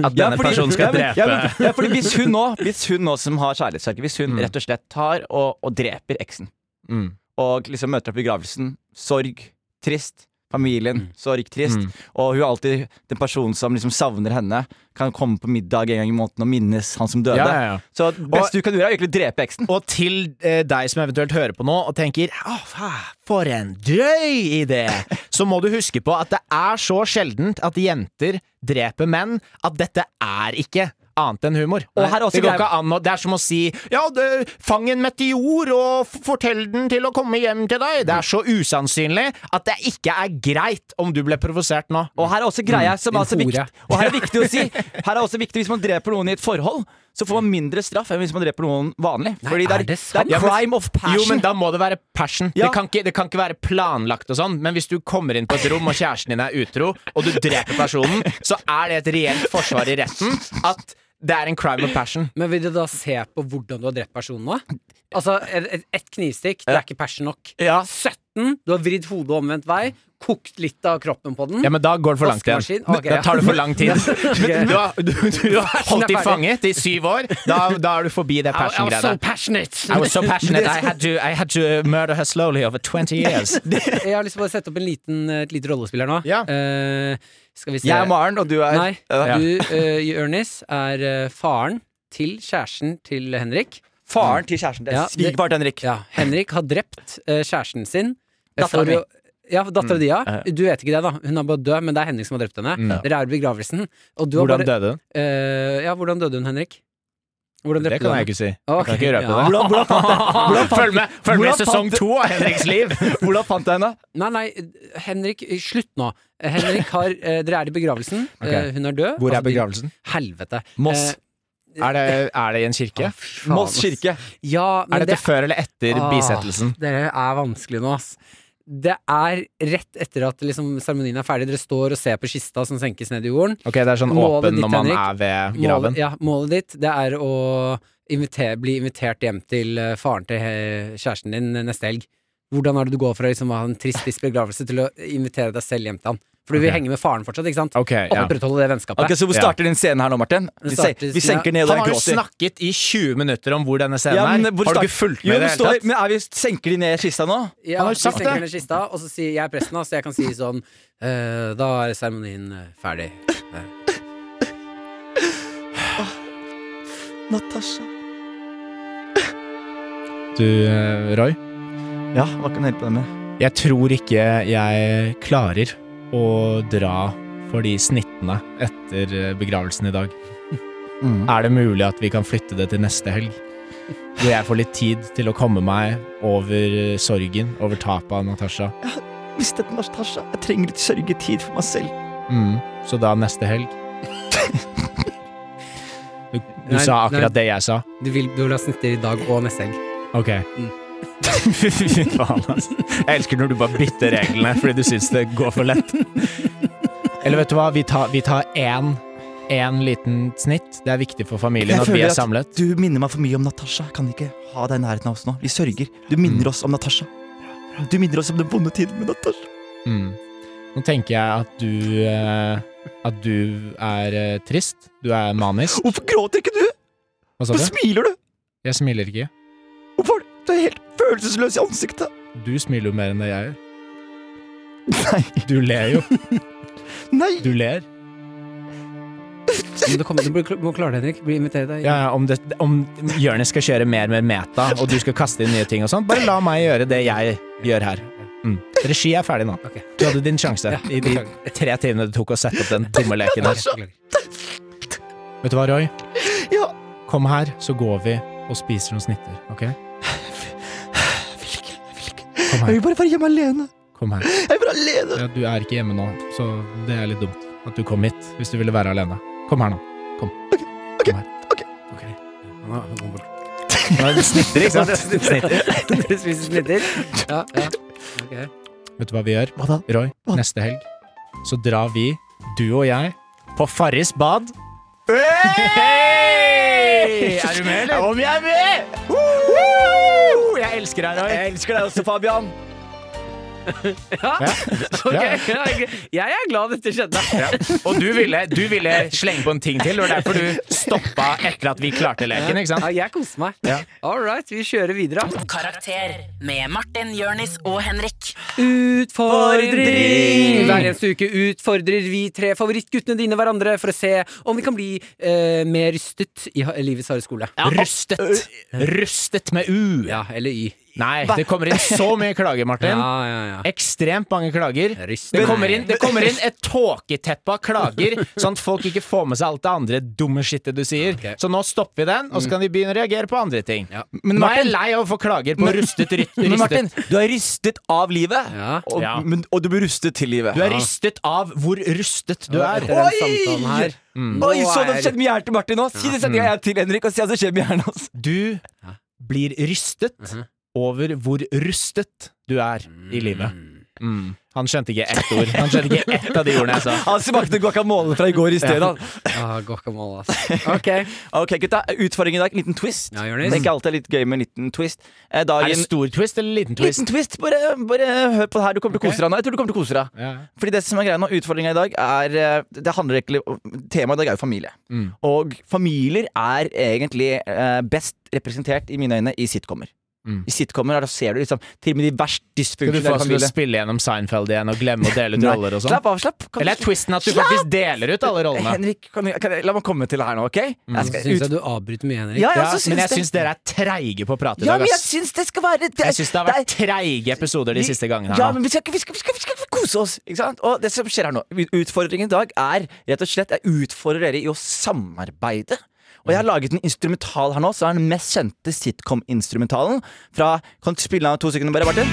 S4: At denne personen skal
S3: ja, men-
S4: drepe
S3: Ja, men, ja, fordi hvis hun nå, hvis hun nå som har kjærlighetssorg, hvis hun rett og slett tar og, og dreper eksen,
S4: mm.
S3: og liksom møter opp i begravelsen, sorg, trist, familien, sorg, trist, og hun er alltid den personen som liksom savner henne, kan komme på middag en gang i måneden og minnes han som døde.
S4: Ja, ja, ja.
S3: Så det beste du kan gjøre, er egentlig å drepe eksen.
S4: Og til eh, deg som eventuelt hører på nå og tenker Å, fa- for en drøy idé! Så må du huske på at det er så sjeldent at jenter dreper menn at dette er ikke annet enn humor.
S3: Og her er også
S4: det, går
S3: greia-
S4: ikke an å, det er som å si Ja, det, fang en meteor og f- fortell den til å komme hjem til deg. Det er så usannsynlig at det ikke er greit om du ble provosert nå.
S3: Og her er også greia som er
S2: Din
S3: altså viktig,
S2: hore.
S3: og her er viktig å si Her er også viktig hvis man dreper noen i et forhold, så får man mindre straff enn hvis man dreper noen vanlig. Fordi
S2: er
S3: det er,
S2: det sant?
S3: det er crime of passion.
S4: Jo, men da må det være passion.
S3: Ja.
S4: Det, kan ikke, det kan ikke være planlagt og sånn, men hvis du kommer inn på et rom og kjæresten din er utro, og du dreper personen, så er det et reelt forsvar i retten at det er en crime of passion.
S2: Men vil du da se på hvordan du har drept personen nå? Altså, et- et- ett knivstikk, det er ikke passion nok.
S3: Ja.
S2: 17, du har vridd hodet omvendt vei. kokt litt av kroppen på den.
S4: Ja, men da går det for langt igjen.
S2: Vaskemaskin? Ok,
S4: da tar det for *laughs* lang tid.
S2: Ok.
S4: Du har, du, du har holdt i fanget i syv år. Da, da er du forbi det
S2: I, I was so
S4: passion-greia. I
S2: passionate!
S4: was so passionate. I had, to, I had to murder her slowly over *laughs* 20 years.
S2: *laughs* Jeg har lyst til å bare sette opp en liten, et lite rollespill her nå.
S4: Ja.
S2: Eh, skal vi se
S3: Jeg er Maren, og du er
S2: Nei,
S3: Ja.
S2: du, eh, Jonis, er eh, faren til kjæresten til Henrik.
S3: faren til kjæresten til
S2: Ja, det-
S3: svigerfar til Henrik.
S2: Ja, Henrik har drept eh, kjæresten sin. eh,
S3: Datteren
S2: for å-
S3: min.
S2: Ja, dattera di, ja.
S4: Mm. Ja. Mm.
S2: Du vet ikke det, da. Hun er bare død, men det er Henrik som har drept henne.
S4: Ja.
S2: Dere er i begravelsen. Og du har
S4: Hvordan
S2: bare,
S4: døde hun?
S2: Eh, ja, hvordan døde hun, Henrik? Hvordan
S4: Det
S2: drepte
S4: kan jeg
S2: du henne?
S4: ikke si.
S2: Ok,
S4: Jeg kan ikke
S2: ja.
S4: røpe det.
S3: Hvordan, hvordan
S4: *laughs*
S3: fant jeg-
S4: Følg med, følg med i
S3: Hvordan
S4: sesong
S3: fant-
S4: to av Henriks *laughs* liv!
S3: hvordan fant jeg henne?
S2: Nei, nei, Henrik, slutt nå. Henrik har eh, Dere er i begravelsen.
S4: Ok.
S2: Eh, hun er død.
S4: Hvor er
S2: Altså, de-
S4: begravelsen?
S2: Helvete.
S3: Moss.
S2: Eh,
S4: Er det, er det i en kirke?
S2: faen,
S3: Moss
S2: ass.
S3: kirke.
S2: Ja, men
S4: Er dette
S2: det
S4: før eller etter
S2: Ah,
S4: bisettelsen?
S2: Dere er vanskelig nå, ass. Det er rett etter at liksom, seremonien er ferdig, dere står og ser på kista som senkes ned i jorden.
S4: Ok, det er sånn
S2: Målet
S4: åpen
S2: ditt,
S4: når man
S2: Henrik.
S4: er ved graven.
S2: Målet, ja, målet ditt det er å invite- bli invitert hjem til eh, faren til eh, kjæresten din eh, neste helg. Hvordan er det du går fra liksom, å ha en trist trist begravelse til å invitere deg selv hjem til han? For du vil
S4: Ok.
S2: henge med faren fortsatt, ikke sant?
S4: Ok, ja.
S2: Opprettholde det vennskapet.
S3: Ok, Så hvor
S4: Ja.
S3: starter den scenen her nå, Martin? Vi,
S2: Den
S3: sen,
S2: starter-
S3: vi senker ned, og
S4: Han
S3: jeg
S4: har jo
S3: gråter.
S4: snakket i 20 minutter om hvor denne scenen
S3: Ja, men
S4: er.
S3: hvor
S4: Har du
S3: start-
S4: ikke fulgt
S3: Jo,
S4: med i
S3: men,
S4: det
S3: står,
S4: hele
S3: men
S4: tatt?
S3: er vi, senker de ned kista nå?
S2: Ja,
S4: Han har
S2: vi
S4: jo sagt
S2: senker
S4: det.
S2: ned kista, og så sier jeg presten, da, så jeg kan si sånn eh, Da er seremonien eh, ferdig.
S3: Natasha.
S4: Du, eh, Roy,
S3: Ja, hva kan jeg hjelpe deg med?
S4: jeg tror ikke jeg klarer å dra for de snittene etter eh, begravelsen i dag. Er det mulig at vi kan flytte det til neste helg? Hvor jeg får litt tid til å komme meg over eh, sorgen, over tapet av Natasha.
S3: Mistet Natasha. Jeg trenger litt sørgetid for meg selv.
S4: Mm. Så da neste helg Du, du
S2: Nei,
S4: sa
S2: nei.
S4: akkurat det jeg sa.
S2: Du vil, du vil ha snitter i dag og neste helg.
S4: Ok. *laughs* Fy faen, altså. Jeg elsker når du bare bytter reglene fordi du syns det går for lett. Eller vet du hva, vi tar, vi tar én, én liten snitt. Det er viktig for familien
S3: Jeg
S4: at vi
S3: føler
S4: er
S3: at-
S4: samlet.
S3: Du minner meg for mye om Natasha. Jeg Kan ikke ha deg i nærheten av oss nå. Vi sørger. Du minner oss om Natasha. Du minner oss om den vonde tiden med Natasha.
S4: Mm. Nå tenker jeg at du eh, At du er eh, trist. Du er manisk.
S3: Hvorfor gråter ikke du?
S4: Hva sa
S3: Hvorfor
S4: du?
S3: smiler du?
S4: Jeg smiler ikke.
S3: Hvorfor? Du er helt følelsesløs i ansiktet.
S4: Du smiler jo mer enn det jeg gjør.
S3: Nei.
S4: Du ler jo.
S3: Nei.
S4: Du ler.
S2: Men du, kommer, du blir- må klare det, Henrik. Bli invitert deg.
S4: Ja, ja, om, det, om Jørnes skal kjøre mer med meta, og du skal kaste inn nye ting og sånn, bare la meg gjøre det jeg gjør her. Mm. Regi er ferdig nå.
S2: Ok.
S4: Du hadde din sjanse i de tre timene det tok å sette opp den dumme leken der.
S2: Beklager.
S4: *laughs* Vet du hva, Roy?
S3: Ja.
S4: Kom her, så går vi og spiser noen snitter, ok?
S3: Jeg vil ikke. Jeg vil ikke.
S4: Kom
S3: Jeg
S4: her.
S3: vil bare være hjemme alene.
S4: Kom her.
S3: Jeg vil være alene.
S4: Ja, du er ikke hjemme nå, så det er litt dumt at du kom hit hvis du ville være alene. Kom her nå. Kom.
S3: ok,
S4: Kom her.
S3: ok.
S4: Ok.
S2: Nå- nå kommer-
S4: Nå er det snitter, ikke sant?
S2: *laughs* Dere spiser snitter? Ja, ja. Ok.
S4: Vet du hva vi gjør?
S3: Hva da?
S4: Roy,
S3: Hva?
S4: neste helg så drar vi, du og jeg, på Farris bad. Er du med, eller?
S3: Om jeg er med!
S4: Jeg elsker deg, Roy.
S3: Jeg elsker deg også, Fabian.
S4: Ja.
S2: *laughs* Ok, ja, jeg- Jeg er glad dette skjedde.
S4: Og du ville, du ville slenge på en ting til, og det var derfor du stoppa etter at vi klarte leken, ikke
S2: Ja,
S4: sant?
S2: jeg koser meg.
S4: Ja.
S2: All right, vi kjører videre.
S5: Karakter med Martin, Jørnis og Henrik.
S2: Utfordring! Hver eneste uke utfordrer vi tre favorittguttene dine hverandre for å se om vi kan bli eh, mer rustet i ha- livets harde skole.
S4: Rustet. Rustet med U.
S2: Ja, eller Y.
S4: Nei, det kommer inn så mye klager, Martin.
S2: Ja, ja, ja.
S4: Ekstremt mange klager.
S2: Rystet.
S4: Det kommer, inn, det kommer inn et tåketeppe av klager, sånn at folk ikke får med seg alt det andre dumme skittet du sier.
S2: Ok. Mm.
S4: Så nå stopper vi den, og så kan de begynne å reagere på andre ting.
S2: Ja.
S3: Men
S4: nå er jeg
S3: Martin-
S4: lei av å få klager på rustet, rytt,
S3: *laughs* Men Martin,
S4: rystet.
S3: du er rystet av livet,
S2: Ja.
S3: og,
S4: Ja.
S3: men, og du blir rustet til livet.
S4: Du er rystet av hvor rustet du
S2: Og
S4: er.
S2: Etter den samtalen her Nå
S3: Oi, så det
S2: er-
S3: skjedde med hjernen til Martin nå? Si det setninga jeg til Henrik, og si at det skjer med
S4: *laughs*
S3: hjernen hans.
S4: Du
S2: Mhm.
S4: blir rystet over hvor rustet du er i livet. Mm. Han skjønte ikke ett ord. Han skjønte ikke ett av de ordene jeg sa.
S3: Han smakte guacamole fra i går i stedet.
S2: Ah, guacamole, ass. Ok.
S3: Ok, gutta. Utfordring i dag. Liten twist.
S2: Ja, Jonis.
S3: det er ikke alltid litt gøy med en liten twist. Eh,
S4: Er det
S3: Dagen
S4: stor twist eller liten twist?
S3: Liten twist. Bare, bare hør på det her. Du kommer til å kose deg nå. Jeg tror du kommer til å kose deg.
S4: Ja.
S3: Fordi det som er greia nå, utfordringa i dag er eh, Det handler egentlig om- Temaet i dag er jo familie.
S4: Mm.
S3: Og familier er egentlig eh, best representert, i mine øyne, i sitcomer.
S4: Mm.
S3: I sitcomer da ser du liksom til og med de verst
S4: Skal du få oss
S3: dysfunksjonelle
S4: til å
S3: familiene.
S4: spille gjennom Seinfeld igjen og glemme å dele ut
S3: Nei,
S4: roller og sånn?
S3: Slapp av, slapp. Kan
S4: Eller er
S3: du-
S4: twisten at du faktisk deler ut alle rollene? Mm.
S3: Henrik, kan, du- kan, jeg- la meg komme til det her nå, OK? Jeg
S2: Så
S3: skal
S2: syns
S3: ut-
S2: jeg du avbryter mye, Henrik.
S3: Ja,
S4: Ja,
S3: ja, så syns
S4: men jeg
S3: det-
S4: syns dere er treige på å prate i
S3: Ja,
S4: dag,
S3: men jeg
S4: ass.
S3: syns det skal være det,
S4: Jeg syns det har
S3: det er-
S4: vært treige episoder de siste gangene
S3: Ja,
S4: her nå.
S3: men vi skal, ikke- vi, skal, vi, skal, vi skal kose oss. Ikke sant? Og det som skjer her nå Utfordringen i dag er rett og slett Jeg utfordrer dere i å samarbeide. Og jeg har laget en instrumental her nå, som er den mest kjente sitcom-instrumentalen. Fra Kan du spille av to sekunder, bare, Martin?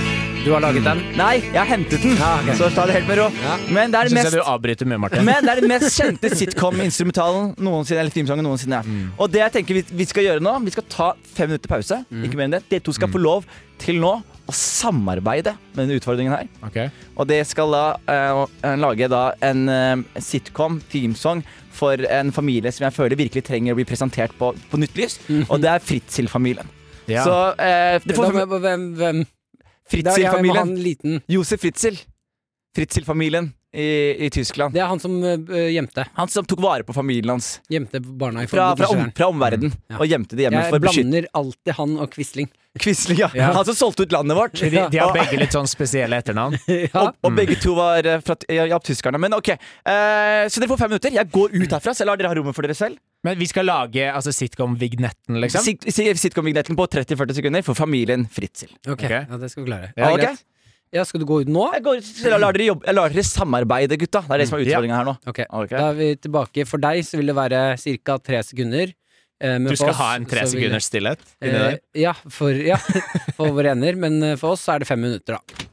S2: Du har laget den? Ah,
S3: Nei, jeg har hentet den, så ta det helt med ro. Men det
S4: Jeg
S3: er den
S4: syns
S3: mest
S4: jeg du avbryter mye, Martin.
S3: men det er den mest kjente sitcom-instrumentalen noensinne. Eller teamsangen noensinne
S2: Mm.
S3: Og det jeg tenker vi, vi skal gjøre nå Vi skal ta fem minutter pause.
S2: Mm.
S3: Ikke mer enn det Dere to skal få lov til nå å samarbeide med denne utfordringen her.
S4: Ok.
S3: Og det skal da eh, lage da en eh, sitcom, teamsong, for en familie som jeg føler virkelig trenger å bli presentert på, på nytt lys. Og det er
S2: *laughs*
S3: Fritzl-familien.
S4: Ja.
S3: Så eh,
S2: Mm.
S3: det
S2: Da må
S3: får
S2: jeg- Hvem? hvem? Da, jeg må ha
S3: Fritzl-familien.
S2: en liten.
S3: Josef Fritzl. Fritzl-familien i, i Tyskland.
S2: Det er han som øh, gjemte.
S3: Han som tok vare på familien hans.
S2: Gjemte barna i
S3: fra,
S2: forhold til
S3: fra, Mm, om,
S2: beskytteren.
S3: fra omverdenen
S2: Ja.
S3: og gjemte det hjemme
S2: Jeg
S3: for beskyttelse.
S2: blander alltid han og
S3: *laughs*
S2: Quisling.
S3: Quisling, ja.
S2: Ja.
S3: *laughs* Han som solgte ut landet vårt.
S4: De, de har
S3: Og-
S4: begge litt sånn spesielle etternavn.
S2: ja.
S3: Og, og begge to var eh, fra ja, ja, tyskerne. Men ok, eh, så dere får fem minutter. Jeg går ut herfra, så jeg lar dere ha rommet for dere selv.
S4: Men vi skal lage altså, sitcom-vignetten, liksom?
S3: Sit- si- Sitcom-vignetten på 30-40 sekunder for familien Fritzl.
S2: Ok,
S4: Ok.
S2: ja, det skal vi klare.
S4: Ja,
S3: Ok?
S4: greit.
S2: Ja, skal du gå ut nå?
S3: Jeg går ut, så jeg lar dere, jobbe, jeg lar dere samarbeide, gutta. Det er det som er
S4: Ja.
S3: utfordringa her nå.
S2: Ok,
S3: Ok.
S2: Da er vi tilbake. For deg så vil det være ca. tre sekunder. eh, men
S4: Du
S2: for
S4: skal
S2: oss
S4: ha en tre
S2: så vil-
S4: sekunders stillhet? inni
S2: Eh,
S4: der.
S2: ja, for, ja, *laughs* for våre ender. Men eh, for oss så er det fem minutter, da.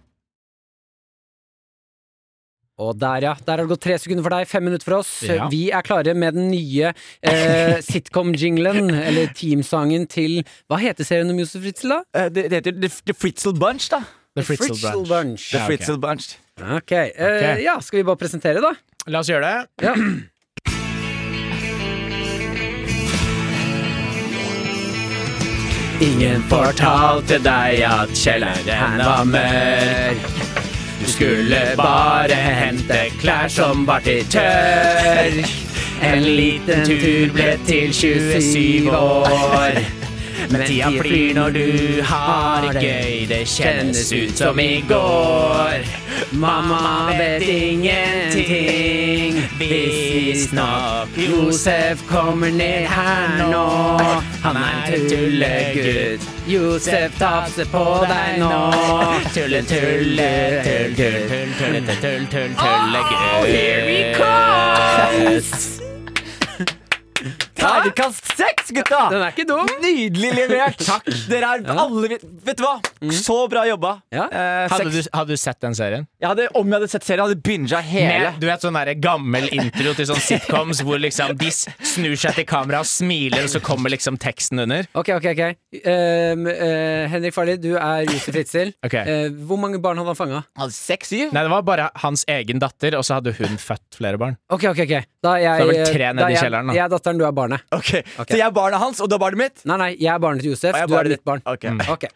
S2: Og der, ja. Der har det gått tre sekunder for deg, fem minutter for oss.
S4: Ja.
S2: Vi er klare med den nye
S4: *laughs*
S2: eh, sitcom-jinglen, eller teamsangen til Hva heter serien om Josef Fritzl, da?
S3: Eh, Det, det heter The, the Fritzl Bunch, da.
S4: The Fritzl Branch.
S2: Bunch.
S3: The
S4: Ja, ok.
S3: Fritzl Bunch.
S2: Ok. eh,
S4: Ok.
S2: Ja, skal vi bare presentere, da?
S4: La oss gjøre det.
S2: Ja.
S4: Ingen fortalte deg at kjelleren var mørk. Du skulle bare hente klær som var til tørk. En liten tur ble til 27 år. Men tida flyr når du har det gøy, det kjennes ut som i går. Mamma vet ingenting, visstnok. Josef kommer ned her nå. Han er en tullegutt. Josef tafser på deg nå. Tulle, tulle, tull, tull, tull, tulle, tull, tull, tull, tullegutt. Oh, here he comes!
S3: Terningkast seks, gutta!
S2: Den er ikke dum!
S3: Nydelig levert. Takk. Dere er alle Vet vet du hva? Så bra jobba.
S2: Ja.
S3: Eh, seks-
S4: hadde du sett den serien?
S3: Jeg hadde, om jeg hadde sett serien, hadde jeg binga hele.
S4: Med, du vet sånn der gammel intro til sånn sitcoms hvor liksom de s- snur seg til kamera og smiler, og så kommer liksom teksten under.
S2: Ok, ok, ok. Ehm, eh, Henrik Farley, du er Josef Fritzl.
S4: Ok.
S2: Eh, hvor mange barn hadde han fanga?
S3: Hadde Seks, syv?
S4: Nei, det var bare hans egen datter, og så hadde hun født flere barn.
S2: Ok, ok, ok. Da er jeg,
S4: Så det er vel tre
S2: eh,
S4: nede
S2: da er
S4: i
S2: jeg-
S4: kjelleren, da.
S2: Jeg er datteren, du er barnet.
S3: Ok, Så jeg er barnet hans, og du er barnet mitt?
S2: Nei, nei, jeg er barnet til Josef,
S3: Og jeg er
S2: du er
S3: barnet
S2: mitt
S3: ditt.
S2: barn. Mm.
S3: Ok.
S2: Ok.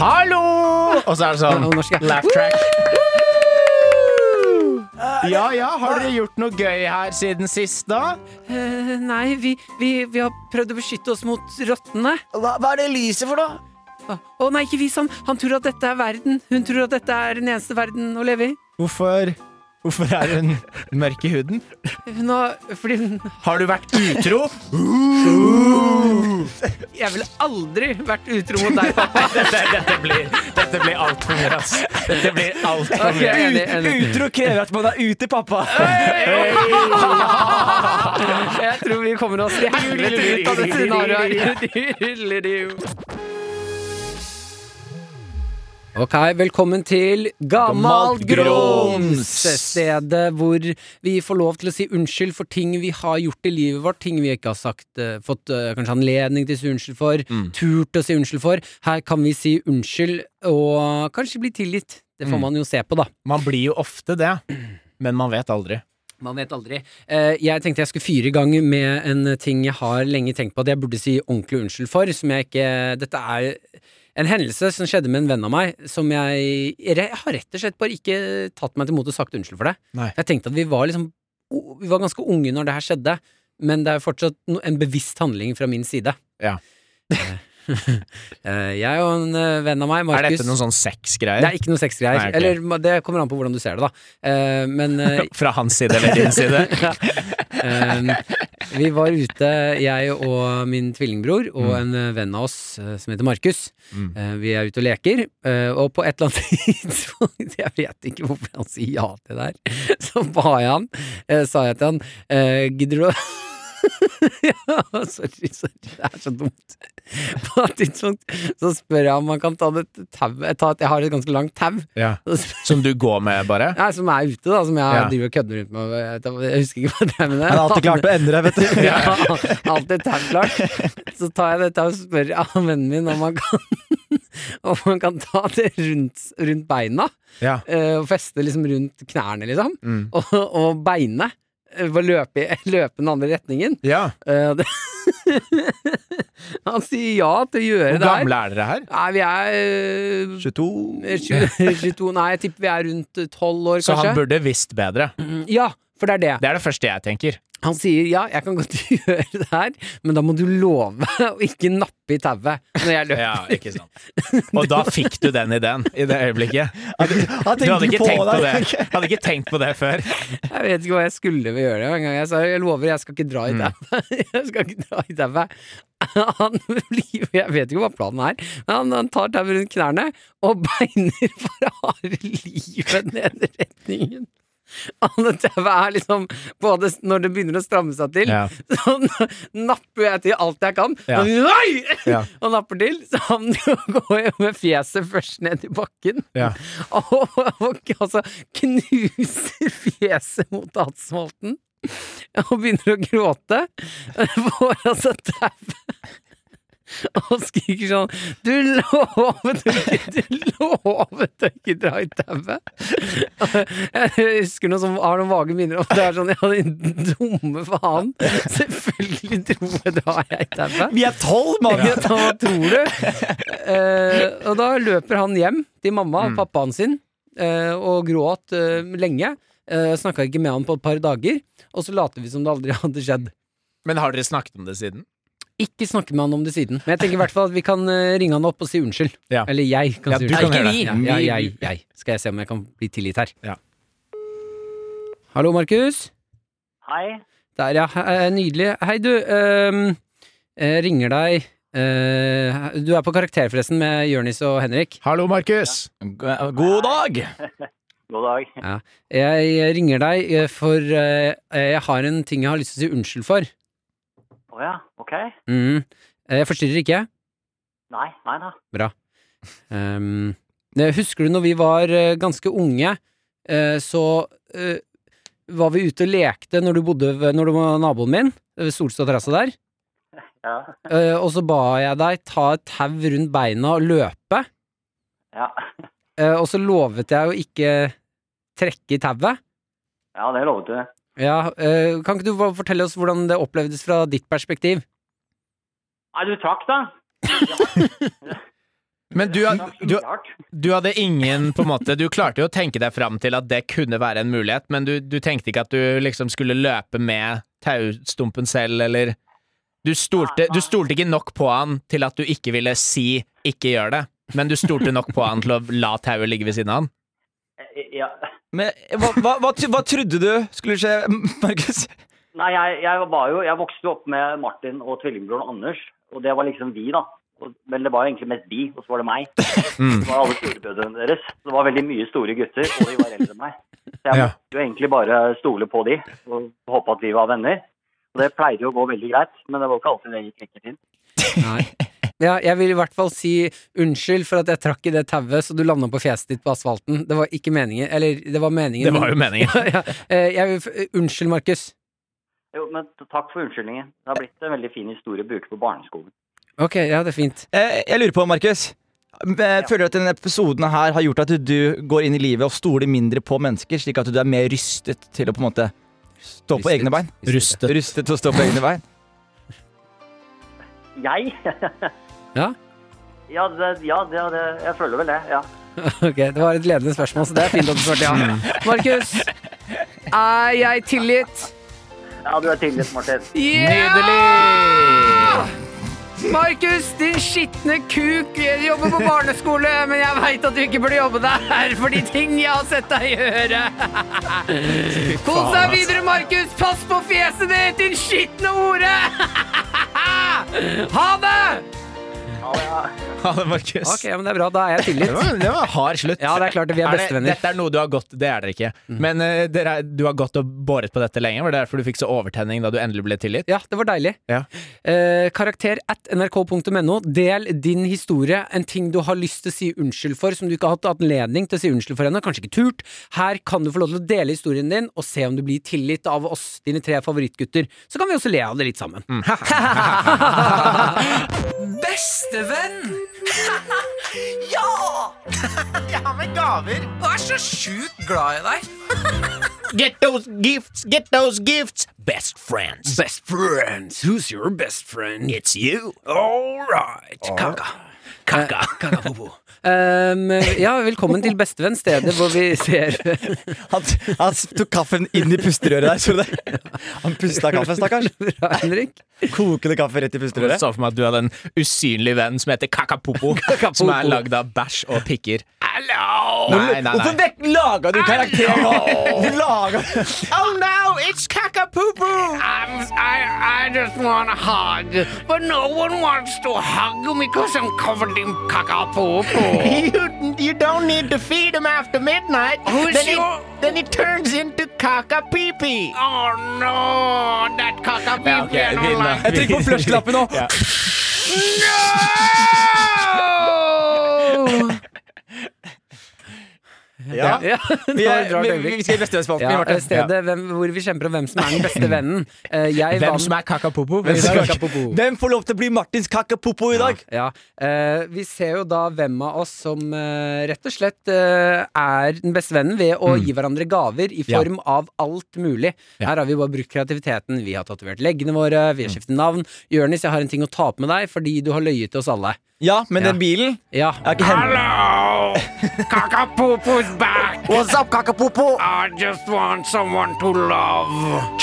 S4: Hallo! Og så er det sånn
S2: Nå- nå skal jeg-
S4: laugh track. Ja ja, har dere gjort noe gøy her siden sist, da?
S2: Eh, nei, vi, vi, vi har prøvd å beskytte oss mot rottene.
S3: Hva, hva er det lyset for, da?
S2: Å å nei, ikke vis ham! Han tror at dette er verden. Hun tror at dette er den eneste verden å leve i.
S4: Hvorfor Hvorfor er hun mørk i huden?
S2: Hun har Fordi hun
S4: Har du vært utro?
S2: Jeg ville aldri vært utro mot deg, pappa.
S4: Dette, dette blir, dette blir altfor mye, ass. Dette blir altfor
S2: Ok,
S4: mye.
S2: enig,
S3: Ut-
S2: enig.
S3: Utro krever at man er ute, *laughs* pappa.
S2: *laughs* Jeg tror vi kommer oss i helvete ut av det
S3: *laughs*
S2: scenarioet. her. Ok, velkommen til Gammalt
S3: Gammalt
S2: Grums!
S3: Grums!
S2: Stedet hvor vi får lov til å si unnskyld for ting vi har gjort i livet vårt, ting vi ikke har sagt, eh, fått eh, kanskje anledning til å si unnskyld for,
S3: Mm.
S2: turt å si unnskyld for. Her kan vi si unnskyld og kanskje bli tilgitt. Det får
S4: Mm.
S2: man jo se på, da.
S4: Man blir jo ofte det, men man vet aldri.
S2: Man vet aldri. Eh, Jeg tenkte jeg skulle fyre i gang med en ting jeg har lenge tenkt på at jeg burde si ordentlig unnskyld for, som jeg ikke Dette er en hendelse som skjedde med en venn av meg, som jeg Jeg har rett og slett bare ikke tatt meg til mot og sagt unnskyld for det.
S4: Nei.
S2: Jeg tenkte at vi var liksom Vi var ganske unge når det her skjedde, men det er fortsatt no- en bevisst handling fra min side.
S4: Ja.
S2: *laughs* Eh, Jeg og en eh, venn av meg,
S4: Er
S2: Markus
S4: dette noen sånn sexgreier?
S2: Det er ikke noe sexgreier.
S4: Nei, ok.
S2: Eller ma- det kommer an på hvordan du ser det, da. Eh, Men
S4: *laughs*
S2: eh,
S4: Fra hans side eller din
S2: *laughs*
S4: side?
S2: ja. um, vi var ute, jeg og min tvillingbror og en eh, venn av oss eh, som heter Markus.
S4: Mm.
S2: Eh, vi er ute og leker, eh, og på et eller annet *laughs* tidspunkt Jeg vet ikke hvorfor han sier ja til det her. *laughs* Så ba jeg han, eh, sa jeg til han, eh, gidder du å *laughs* ja, sorry, sorry, det er så dumt. På et tidspunkt så spør jeg om han kan ta det tauet ta et- Jeg har et ganske langt tau.
S4: Ja.
S2: Så spør
S4: Som du går med, bare?
S2: Nei, som er ute, da, som jeg
S4: Ja.
S2: driver og kødder rundt med. Jeg, vet- jeg husker ikke hva jeg drev med.
S3: Han har alltid klart å endre, vet *laughs* du.
S2: *laughs*
S4: *laughs*
S2: ja, alltid tau klart. Så tar jeg dette og spør av vennen min om han kan, *laughs* om han kan ta det rundt, rundt beina.
S4: Ja.
S2: eh, Og feste liksom rundt knærne, liksom.
S4: Mm.
S2: Og, og beinet. eh, Bare løpe, i- *laughs* løpe den andre retningen.
S4: ja.
S2: Eh, det, *laughs* han sier ja til å gjøre
S4: Hvor
S2: det her.
S4: gamle er dere her?
S2: Nei, vi er eh,
S3: 22
S2: 22 Nei, jeg tipper vi er rundt 12 år,
S4: Så han
S2: kanskje.
S4: burde visst bedre.
S2: Ja, for det er det.
S4: Det er det første jeg tenker.
S2: Han sier ja, jeg kan godt *laughs* gjøre det her, men da må du love å ikke nappe i tauet når jeg løper.
S4: ikke sant *laughs* Og da fikk du den ideen i det øyeblikket.
S3: Han
S4: Du hadde
S3: tenkte
S4: ikke tenkt på det
S3: deg.
S4: Hadde ikke tenkt på det før.
S2: Jeg vet ikke hva jeg skulle ved å gjøre det engang. Jeg sa jeg lover, jeg skal ikke dra i
S4: Mm.
S2: tauet. *laughs* Jeg skal ikke dra i tauet. Han blir Jeg vet ikke hva planen er, men han, han tar tauet rundt knærne og beiner *laughs* for harde livet ned i retningen. Og det tauet er liksom både når det begynner å stramme seg til,
S4: Ja.
S2: *laughs* så n- napper jeg til alt jeg kan.
S4: Ja.
S2: Nei!
S4: Ja.
S2: *laughs* Og napper til, så han *laughs* går jo med fjeset først ned i bakken.
S4: Ja.
S2: *laughs* Og, og altså knuser fjeset mot asfalten. Og begynner å gråte. *laughs* Får altså tau. Og skriker sånn Du lovet å ikke Du lovet å ikke dra i tauet! Jeg husker noe som har noen vage minner om det. er sånn, Ja, din dumme faen. Selvfølgelig dro jeg drar jeg i tauet.
S3: *laughs* Vi er tolv, mann!
S2: Ja. Hva tror du? Eh, og da løper han hjem til mamma
S4: Mm.
S2: og pappaen sin eh, og gråt eh, lenge. Uh, Snakka ikke med han på et par dager, og så later vi som det aldri *laughs* hadde skjedd.
S4: Men har dere snakket om det siden?
S2: Ikke snakke med han om det siden, men jeg tenker i hvert fall at vi kan eh, ringe han opp og si unnskyld.
S4: Ja.
S2: Eller jeg kan
S4: Ja,
S2: si
S4: du
S2: unnskyld.
S4: kan gjøre
S2: Ja,
S3: det.
S2: ja,
S3: Vi-
S2: jeg, jeg. Skal jeg se om jeg kan bli tilgitt her.
S4: Ja.
S2: Hallo, Markus.
S6: Hei.
S2: Der, ja. He- eh, Nydelig. Hei, du. ehm, jeg ringer deg eh, Du er på Karakter, forresten, med Jørnis og Henrik.
S4: Hallo, Markus.
S3: God dag!
S6: God dag.
S2: Jeg ringer deg eh, for eh, jeg har en ting jeg har lyst til å si unnskyld for.
S6: Å ja, ok.
S2: Mm. Eh, Jeg forstyrrer ikke.
S6: Nei, nei da.
S2: Ehm, eh, husker du når vi var eh, ganske unge, eh, så eh, var vi ute og lekte når du bodde ved, når du var naboen min, ved Solstad terrasse der.
S6: *laughs* Ja.
S2: Eh, og så ba jeg deg ta et tau rundt beina og løpe.
S6: ja.
S2: Eh, og så lovet jeg å ikke trekke i tauet.
S6: Ja, det lovet du.
S2: Ja, eh, kan ikke du bare fortelle oss hvordan det opplevdes fra ditt perspektiv?
S6: Nei, du trakk, da.
S4: Men du,
S6: Det var
S4: du,
S6: skikkelig hardt.
S4: du hadde ingen på en måte Du klarte jo å tenke deg fram til at det kunne være en mulighet, men du, du tenkte ikke at du liksom skulle løpe med taustumpen selv, eller du stolte, du stolte ikke nok på han til at du ikke ville si 'ikke gjør det', men du stolte nok på han til å la tauet ligge ved siden av han.
S6: eh, Ja.
S3: Men hva, hva, hva, tr- hva trodde du skulle skje, Markus?
S6: Nei, jeg, jeg var jo Jeg vokste jo opp med Martin og tvillingbroren Anders, og det var liksom vi, da. Og- Men det var jo egentlig mest vi, og så var det
S4: *laughs*
S6: meg.
S4: Mm.
S6: Det var alle storebrødrene deres. Det var veldig mye store gutter, og de var eldre enn meg. Så jeg
S4: Ja.
S6: måtte jo egentlig bare stole på de, og håpe at vi var venner. Og det pleide jo å gå veldig greit, men det var jo ikke alltid det gikk like fint.
S2: Nei. *laughs* Ja, jeg vil i hvert fall si unnskyld for at jeg trakk i det tauet så du landa på fjeset ditt på asfalten. Det var ikke meningen. Eller, det var meningen.
S4: Det var jo meningen. *laughs*
S2: men- *laughs* ja, eh, jeg vil, f- unnskyld, Markus.
S6: Jo, men t- takk for unnskyldningen. Det har blitt en veldig fin historie brukt på barneskolen.
S2: Ok, ja, det er fint.
S3: Eh, Jeg lurer på, Markus. eh, Føler du at denne episoden her har gjort at du- du går inn i livet og stoler mindre på mennesker, slik at du er mer rystet til å på en måte stå på
S2: Ristet.
S3: egne bein?
S2: Ristet.
S4: Rustet.
S3: Rustet til å stå på egne bein?
S6: Jeg? *laughs*
S2: Ja?
S6: ja, det, ja det, det, jeg føler vel det. Ja.
S2: Ok, det var et ledende spørsmål, så det er fint at du svarte ja. Markus, er jeg tilgitt?
S6: ja, du er tilgitt, Martin.
S2: Yeah!
S4: Nydelig!
S2: Markus, din skitne kuk, jeg jobber på barneskole, men jeg veit at du ikke burde jobbe der for de ting jeg har sett deg gjøre. Kos deg videre, Markus. Pass på fjeset ditt, din skitne hore. Ha det!
S6: Ja, ja.
S4: Ha det, Markus.
S2: Ok, men det er bra. Da er jeg
S4: Det
S2: tilgitt.
S4: var, det var hard slutt.
S2: Ja, det er klart det, vi er bestevenner. Mm.
S4: Dette er noe du har gått Det er dere ikke. Men eh, dere er, du har gått og båret på dette lenge. Var det derfor du fikk så overtenning da du endelig ble tilgitt?
S2: Ja, det var deilig.
S4: Ja.
S2: Eh, karakter at nrk.no. Del din historie, en ting du har lyst til å si unnskyld for, som du ikke har hatt anledning til å si unnskyld for ennå, kanskje ikke turt. Her kan du få lov til å dele historien din, og se om du blir tilgitt av oss, dine tre favorittgutter. Så kan vi også le av det litt sammen. *laughs* Bestevenn!
S4: Get those gifts, get those gifts, best friends.
S2: Best friends. Who's your best friend?
S4: It's you.
S2: All right. Kaka. Eh, Kaka. Um, ja, velkommen til Bestevenn, stedet hvor *laughs* vi ser
S3: Han, han tok kaffen inn i pusterøret der, så du det? Han pusta kaffe, stakkars.
S2: *laughs* Bra, Henrik.
S3: Kokende kaffe rett i
S4: Jeg
S3: pusterøret.
S4: så for meg at du hadde en usynlig venn som heter *laughs* Kakapopo, som er lagd av bæsj og pikker. Hello! Nei, nei,
S3: Hvorfor
S4: nei.
S3: vekk laga du karakter nå? Du laga
S4: Oh no, it's Kakapopo!
S7: I, I just want to hug, but no one wants to hug me because I'm covered in kakapopo.
S4: *laughs* You, you don't need to feed him after midnight.
S7: Who's
S4: then,
S7: your-
S4: he, then he turns into Kakapipi.
S7: oh no, that kakapopo.
S4: Ja, ok,
S7: I don't
S4: fin, da.
S7: like
S3: Jeg trykker på flush-knappen nå. Ja.
S2: Ja,
S3: Vi,
S2: *laughs* det var
S3: er,
S2: et rart
S3: vi,
S2: øyeblikk.
S3: vi skal i bestevenns
S2: Ja,
S3: forvaltning, Martin.
S2: stedet hvem, hvor vi kjemper om hvem som er den beste vennen. Eh, Jeg
S4: Hvem
S2: vant-
S4: som er Kakapopo?
S2: Hvem som er Kakapopo.
S3: Hvem får lov til å bli Martins kakapopo i dag?
S2: Ja, eh, Vi ser jo da hvem av oss som eh, rett og slett eh, er den beste vennen ved
S3: Mm.
S2: å gi hverandre gaver i
S4: Ja.
S2: form av alt mulig.
S4: Ja.
S2: Her har vi bare brukt kreativiteten. Vi har tatovert leggene våre,
S3: Mm.
S2: vi har skiftet navn. Jonis, jeg har en ting å ta opp med deg fordi du har løyet til oss alle.
S3: Ja, men
S2: Ja.
S3: den bilen
S2: Ja,
S3: er ikke hemmelig.
S7: Hello, kakapopo's back.
S3: What's up, kakapopo?
S7: I just want someone to love.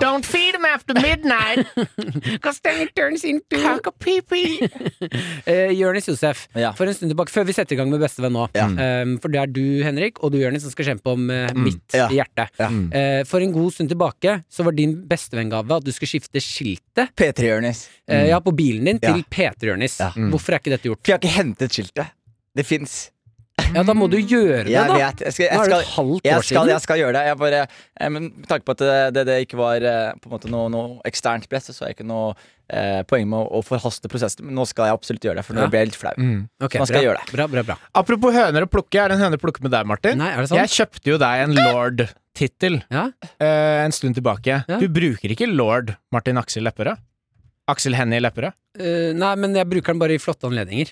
S4: Don't feed him after midnight.
S7: *laughs* Because then it turns into kakapipi. *laughs*
S2: Eh, Jonis Josef,
S3: Ja.
S2: for en stund tilbake, før vi setter i gang med Bestevenn nå. Eh, for det er du, Henrik, og du, Jonis, som skal kjempe om eh, mitt
S3: Mm. Ja.
S2: hjerte. Eh, for en god stund tilbake så var din bestevenngave at du skulle skifte skiltet
S3: P3, Jonis.
S2: eh, ja, på bilen din til
S3: Mm. Ja.
S2: Peter Jonis.
S3: Ja.
S2: Hvorfor er ikke dette gjort?
S3: For jeg har ikke hentet skiltet. Det fins.
S2: Ja, da må du gjøre det,
S3: Jeg
S2: da!
S3: vet. Jeg skal,
S2: Nå
S3: jeg
S2: er det
S3: skal,
S2: et halvt år
S3: jeg skal,
S2: siden.
S3: jeg skal gjøre det. Jeg bare, eh, men med tanke på at det, det, det ikke var eh, på en måte noe, noe eksternt press, så er det ikke noe eh, poeng med å, å forhaste prosessen. Men nå skal jeg absolutt gjøre det, for nå
S2: Ja. Mm.
S3: ble jeg litt flau.
S2: Ok,
S3: Nå skal
S2: bra.
S3: jeg gjøre det.
S2: Bra, bra, bra.
S4: Apropos høner å plukke, er det en høne å plukke med deg, Martin?
S2: Nei, er det sant?
S4: Jeg kjøpte jo deg en lord-tittel
S2: Ja?
S4: eh, en stund tilbake.
S2: Ja.
S4: Du bruker ikke lord Martin Aksel Lepperød? Aksel Hennie Lepperød?
S2: Eh, nei, men jeg bruker den bare i flotte anledninger.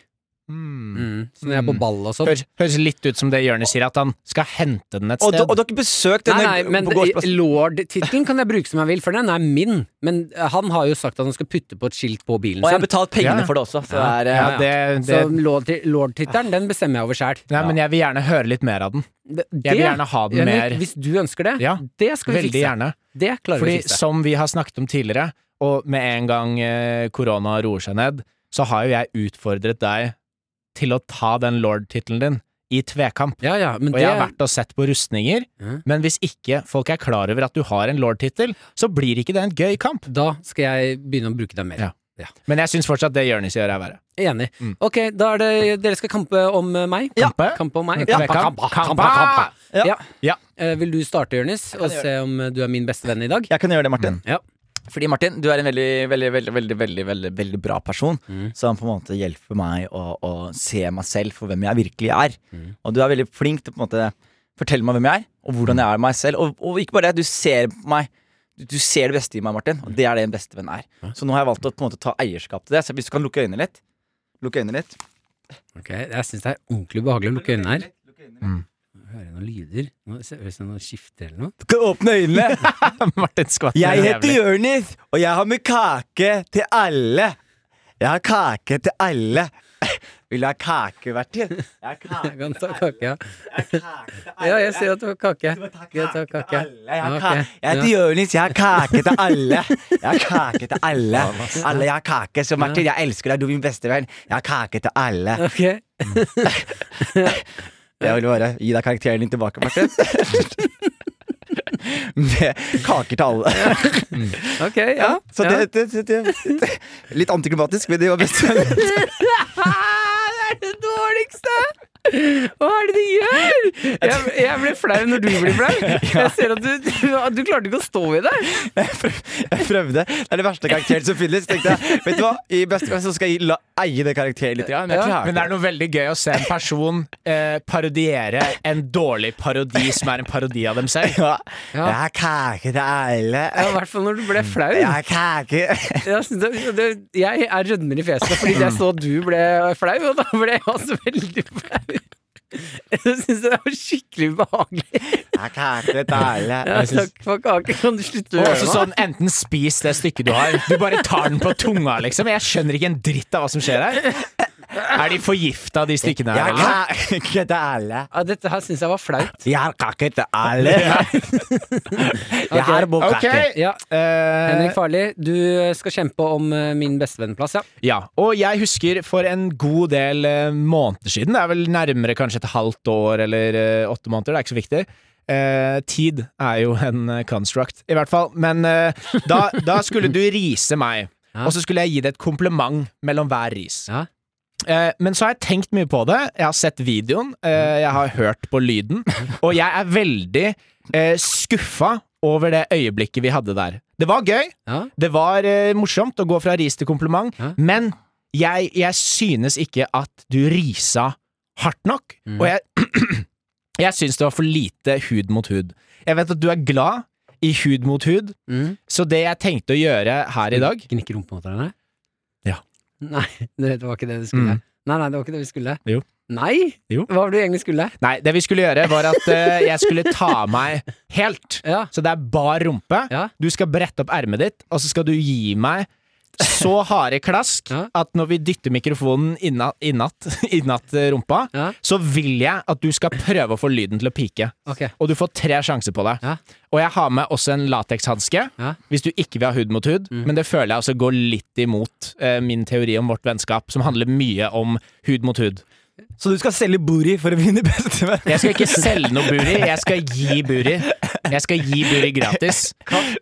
S2: Mm. Så når jeg er på ball og sånn.
S4: Høres, høres litt ut som det Jonis sier, at han skal hente den et
S3: Og,
S4: sted.
S3: da- og dere besøkte
S2: Nei,
S3: denne
S2: nei, men
S3: på gårdsplassen.
S2: lord-tittelen kan jeg bruke som jeg vil, for den er min. Men eh, han har jo sagt at han skal putte på et skilt på bilen
S3: Og
S2: sin.
S3: jeg har betalt pengene
S4: Ja.
S3: for det også. Så
S2: Ja.
S3: det er, eh,
S4: ja, det, det,
S2: Så lord- lord-tittelen, den bestemmer jeg over sjæl.
S4: Nei, men jeg vil gjerne høre litt mer av den. Jeg vil gjerne ha den mer.
S2: Hvis du ønsker det,
S4: Ja,
S2: det skal vi
S4: Veldig
S2: fikse.
S4: gjerne.
S2: Det klarer
S4: Fordi
S2: vi å fikse.
S4: som vi har snakket om tidligere, og med en gang eh, korona roer seg ned, så har jo jeg utfordret deg til å ta den lord-tittelen din i tvekamp.
S2: Ja, ja, men
S4: Og
S2: det,
S4: jeg har vært og sett på rustninger,
S2: Mhm.
S4: men hvis ikke folk er klar over at du har en lord-tittel, så blir ikke det en gøy kamp.
S2: da skal jeg begynne å bruke den mer.
S4: Ja. Men jeg syns fortsatt det Jonis gjør, er verre. *laughs*
S2: Enig. Ok, da er det Dere skal kampe om eh, meg?
S3: Ja.
S4: Kampe?
S2: Kampe om meg?
S4: Ja. Kampa, kampa.
S2: Ja.
S4: Ja.
S2: Eh, vil du starte, Jonis, og
S3: gjøre
S2: se om eh, du er min beste venn i dag?
S3: jeg kan gjøre det, Martin.
S2: Ja.
S3: Fordi Martin, du er en veldig, veldig, veldig, veldig, veldig, veldig, veldig bra person som på en måte hjelper meg å, å se meg selv for hvem jeg virkelig er. Og du er veldig flink til å på en måte fortelle meg hvem jeg er, og hvordan jeg er meg selv. Og, og ikke bare det, du ser meg du, du ser det beste i meg, Martin, og det er det en bestevenn er. Så nå har jeg valgt å på en måte ta eierskap til det. Så hvis du kan lukke øynene litt Lukke øynene litt.
S2: Ok, Jeg syns det er ordentlig behagelig å lukke øynene her.
S3: Lukke øynene litt.
S2: Hører jeg noen lyder? Nå ser- Høres det noen skifter eller noe?
S3: Du kan åpne *laughs* øynene!
S4: Martin skvatt
S3: Jeg
S4: jævlig.
S3: heter Jonis, og jeg har med kake til alle. Jeg har kake til alle. *laughs* Vil du ha kake, Bertil? Jeg har
S2: *laughs*
S3: kake
S2: Jeg kan ta kake, ja.
S3: Jeg har kake til alle.
S2: Ja, jeg ser at du har kake.
S3: Du må ta
S2: Jeg tar
S3: kake til
S2: kake.
S3: alle. Jeg, har
S2: Ok,
S3: kake. jeg heter
S2: ja.
S3: Jonis, jeg har kake til
S2: *laughs*
S3: alle. Jeg har kake til alle. Alle jeg har kake, så Martin, jeg elsker deg, du er min bestevenn. Jeg har kake til alle.
S2: Ok.
S3: Jeg vil bare gi deg karakteren din tilbake, Martin. *laughs* Med kaker til alle.
S2: Ok, ja.
S3: Så
S2: ja. *laughs*
S3: det, det, det, det Litt antiklimatisk, men det var best. *laughs*
S2: Ah, Det er det dårligste! Hva er det de gjør? Jeg, jeg ble flau når du blir
S3: *laughs*
S2: flau. Jeg ser at du, du, du klarte ikke å stå i det.
S3: Jeg prøvde. Det er det verste karakteren som finnes. Tenkte jeg, vet du hva, I beste fall så skal jeg la, eie det karakteret litt. grann, Men jeg
S2: Ja,
S3: klarer
S4: Men det er noe veldig gøy å se en person eh, parodiere en dårlig parodi som er en parodi av dem selv.
S3: Ja.
S2: Ja.
S3: Jeg har kake til alle.
S2: Ja, I hvert fall når du ble flau.
S3: Jeg har kake.
S2: Jeg, synes det, det, jeg er rødmer i fjeset fordi jeg så at du ble flau, og da ble jeg også veldig flau. Jeg syns det var skikkelig ubehagelig.
S3: Jeg har kake til alle.
S2: Ja, takk for kake. Kan du slutte å
S4: Og
S2: gjøre
S4: også
S2: det?
S4: sånn, enten spis det stykket du har. Du bare tar den på tunga, liksom. Jeg skjønner ikke en dritt av hva som skjer her. Er de forgifta, de stykkene
S3: Jeg
S4: her?
S3: har
S4: eller?
S3: kake til alle.
S2: Ja, dette her syns jeg var flaut.
S3: Jeg har kake til alle. *laughs* Jeg har bokkake.
S4: Ok.
S2: Ja,
S4: Eh,
S2: Henrik Farli, du skal kjempe om eh, min bestevennplass, ja.
S4: Ja, og jeg husker for en god del eh, måneder siden, det er vel nærmere kanskje et halvt år eller eh, åtte måneder, det er ikke så viktig. Eh, tid er jo en eh, construct, i hvert fall. Men eh, da, da skulle du rise meg,
S2: Ja.
S4: og så skulle jeg gi deg et kompliment mellom hver ris.
S2: Ja.
S4: Eh, men så har jeg tenkt mye på det. Jeg har sett videoen, eh, jeg har hørt på lyden, og jeg er veldig eh, skuffa over det øyeblikket vi hadde der. Det var gøy,
S2: ja.
S4: det var eh, morsomt å gå fra ris til kompliment,
S2: Ja.
S4: men jeg, jeg synes ikke at du risa hardt nok.
S2: Mm.
S4: Og jeg, *clears throat* jeg syns det var for lite hud mot hud. Jeg vet at du er glad i hud mot hud,
S2: Mm.
S4: så det jeg tenkte å gjøre her i dag
S2: Gnikke rumpa mot hverandre?
S4: Ja.
S2: Nei, det det var ikke det du skulle.
S4: Mm.
S2: Nei, nei, det var ikke det vi skulle.
S4: Jo.
S2: Nei?
S4: Jo.
S2: Hva var det du egentlig skulle?
S4: Nei, det vi skulle gjøre, var at eh, jeg skulle ta av meg helt.
S2: Ja.
S4: Så det er bar rumpe.
S2: Ja.
S4: Du skal brette opp ermet ditt, og så skal du gi meg så harde klask
S2: *laughs* Ja.
S4: at når vi dytter mikrofonen inna- *laughs* innatt innatt, eh, rumpa,
S2: Ja.
S4: så vil jeg at du skal prøve å få lyden til å pike.
S2: Ok.
S4: Og du får tre sjanser på det.
S2: Ja.
S4: Og jeg har med også en latekshanske,
S2: Ja. Mm.
S4: hvis du ikke vil ha hud mot hud. Men det føler jeg også går litt imot eh, min teori om vårt vennskap, som handler mye om hud mot hud.
S3: Så du skal selge Bori for å vinne bestevenn?
S4: Jeg skal ikke selge noe buri, jeg skal gi buri. Jeg skal gi buri gratis.
S2: Kan,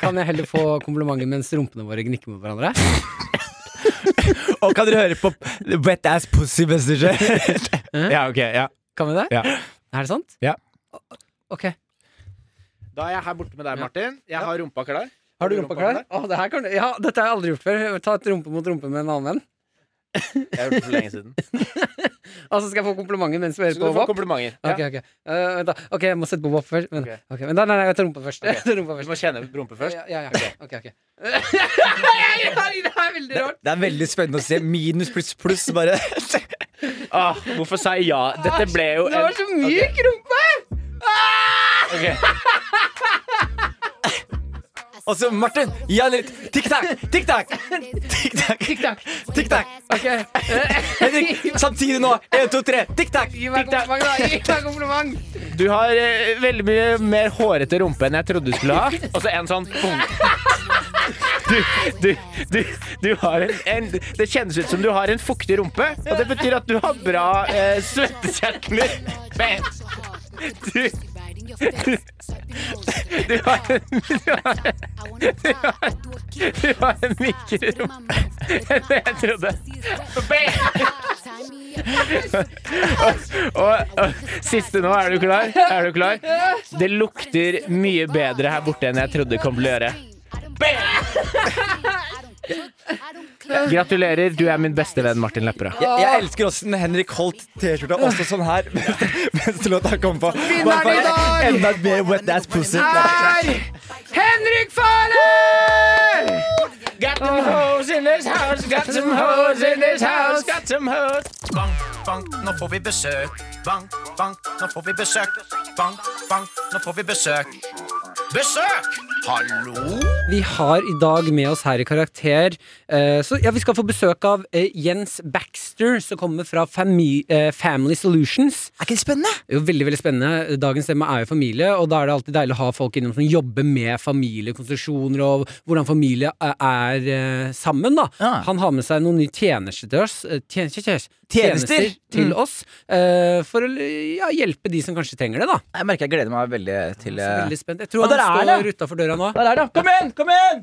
S2: kan jeg heller få komplimenter mens rumpene våre gnikker mot hverandre?
S3: Og kan dere høre på Wet Ass Pussy Messenger?
S4: Ja, ok, ja.
S2: Kan vi det?
S4: Ja.
S2: Er det sant?
S4: Ja.
S2: O- Ok.
S4: Da er jeg her borte med deg,
S2: Ja.
S4: Martin. Jeg har rumpa klar.
S2: Har du rumpa klar? Å, det her kan du. Ja, dette har jeg aldri gjort før. Ta et rumpe mot rumpe med en annen venn.
S4: Jeg har gjort det for lenge siden.
S2: *laughs* Og så skal jeg få komplimenter mens vi hører
S4: Så
S2: på
S4: du får
S2: WAP.
S4: komplimenter.
S2: Ok, ok. Eh, vent da. ok, jeg må sette på WAP først. Men,
S4: Ok.
S2: ok, men da, nei, nei, jeg tar rumpa først. *laughs* Jeg tar rumpa
S4: Du
S2: først.
S4: må kjenne rumpe først.
S2: Ja, ja, ja. Ok, *laughs* ok. det er veldig rart.
S3: Det er veldig spennende å se. Minus pluss pluss, bare.
S4: *laughs* Ah, hvorfor sa jeg ja? Dette ble jo
S2: Det var
S4: en
S2: så myk rumpe!
S3: Og så Martin, gi han litt tikk-takk, tikk-takk, tikk-takk,
S2: Tikk-takk.
S3: tikk-takk.
S2: Ok.
S3: Henrik, samtidig nå. Én, to, tre. Tikk-takk.
S2: Gi meg
S4: Tikk-takk.
S2: kompliment, da. Gi meg kompliment.
S4: Du har eh, veldig mye mer hårete rumpe enn jeg trodde du skulle ha. Og så en sånn boom. Du, du, du, du har en, en Det kjennes ut som du har en fuktig rumpe, og det betyr at du har bra eh, svettekjertler. Men du, du har en, du har en, du har en mykere rumpe enn det jeg trodde. Og, og siste nå, er du klar? Er du *laughs* klar? Det lukter mye bedre her borte enn jeg trodde det kom til å gjøre. Bam! Gratulerer, du er min beste venn, Martin Lepperød.
S3: Jeg, jeg elsker åssen Henrik holdt T-skjorta også sånn her *laughs* mens låta kom på. Bare for
S4: i dag!
S3: Enda mer wet ass pussy.
S4: Henrik Farley! Got them hoes in this house, got some hoes in this house, got some hoes.
S8: Bank, bank, nå får vi besøk. Bank, bank, nå får vi besøk. Bank, bank, nå får vi besøk. Besøk! Hallo?
S2: Vi har i dag med oss her i Karakter eh, Så ja, vi skal få besøk av eh, Jens Baxter, som kommer fra Fami eh, Family Solutions.
S3: Er ikke det spennende?
S2: Det er jo veldig, veldig spennende. Dagens tema er jo familie, og da er det alltid deilig å ha folk innom som jobber med familiekonstruksjoner og hvordan familie er, er eh, sammen, da.
S3: Ja.
S2: Han har med seg noen nye tjenester til oss. eh, Tjen tjen- tjen-
S3: Tjenester? Mm.
S2: til oss eh, for å ja, hjelpe de som kanskje trenger det, da.
S3: Jeg merker jeg gleder meg veldig til
S2: Så
S3: eh,
S2: veldig spent. Jeg tror
S3: Og der
S2: han
S3: er
S2: står utafor døra nå.
S3: Der er det. Kom igjen, kom igjen!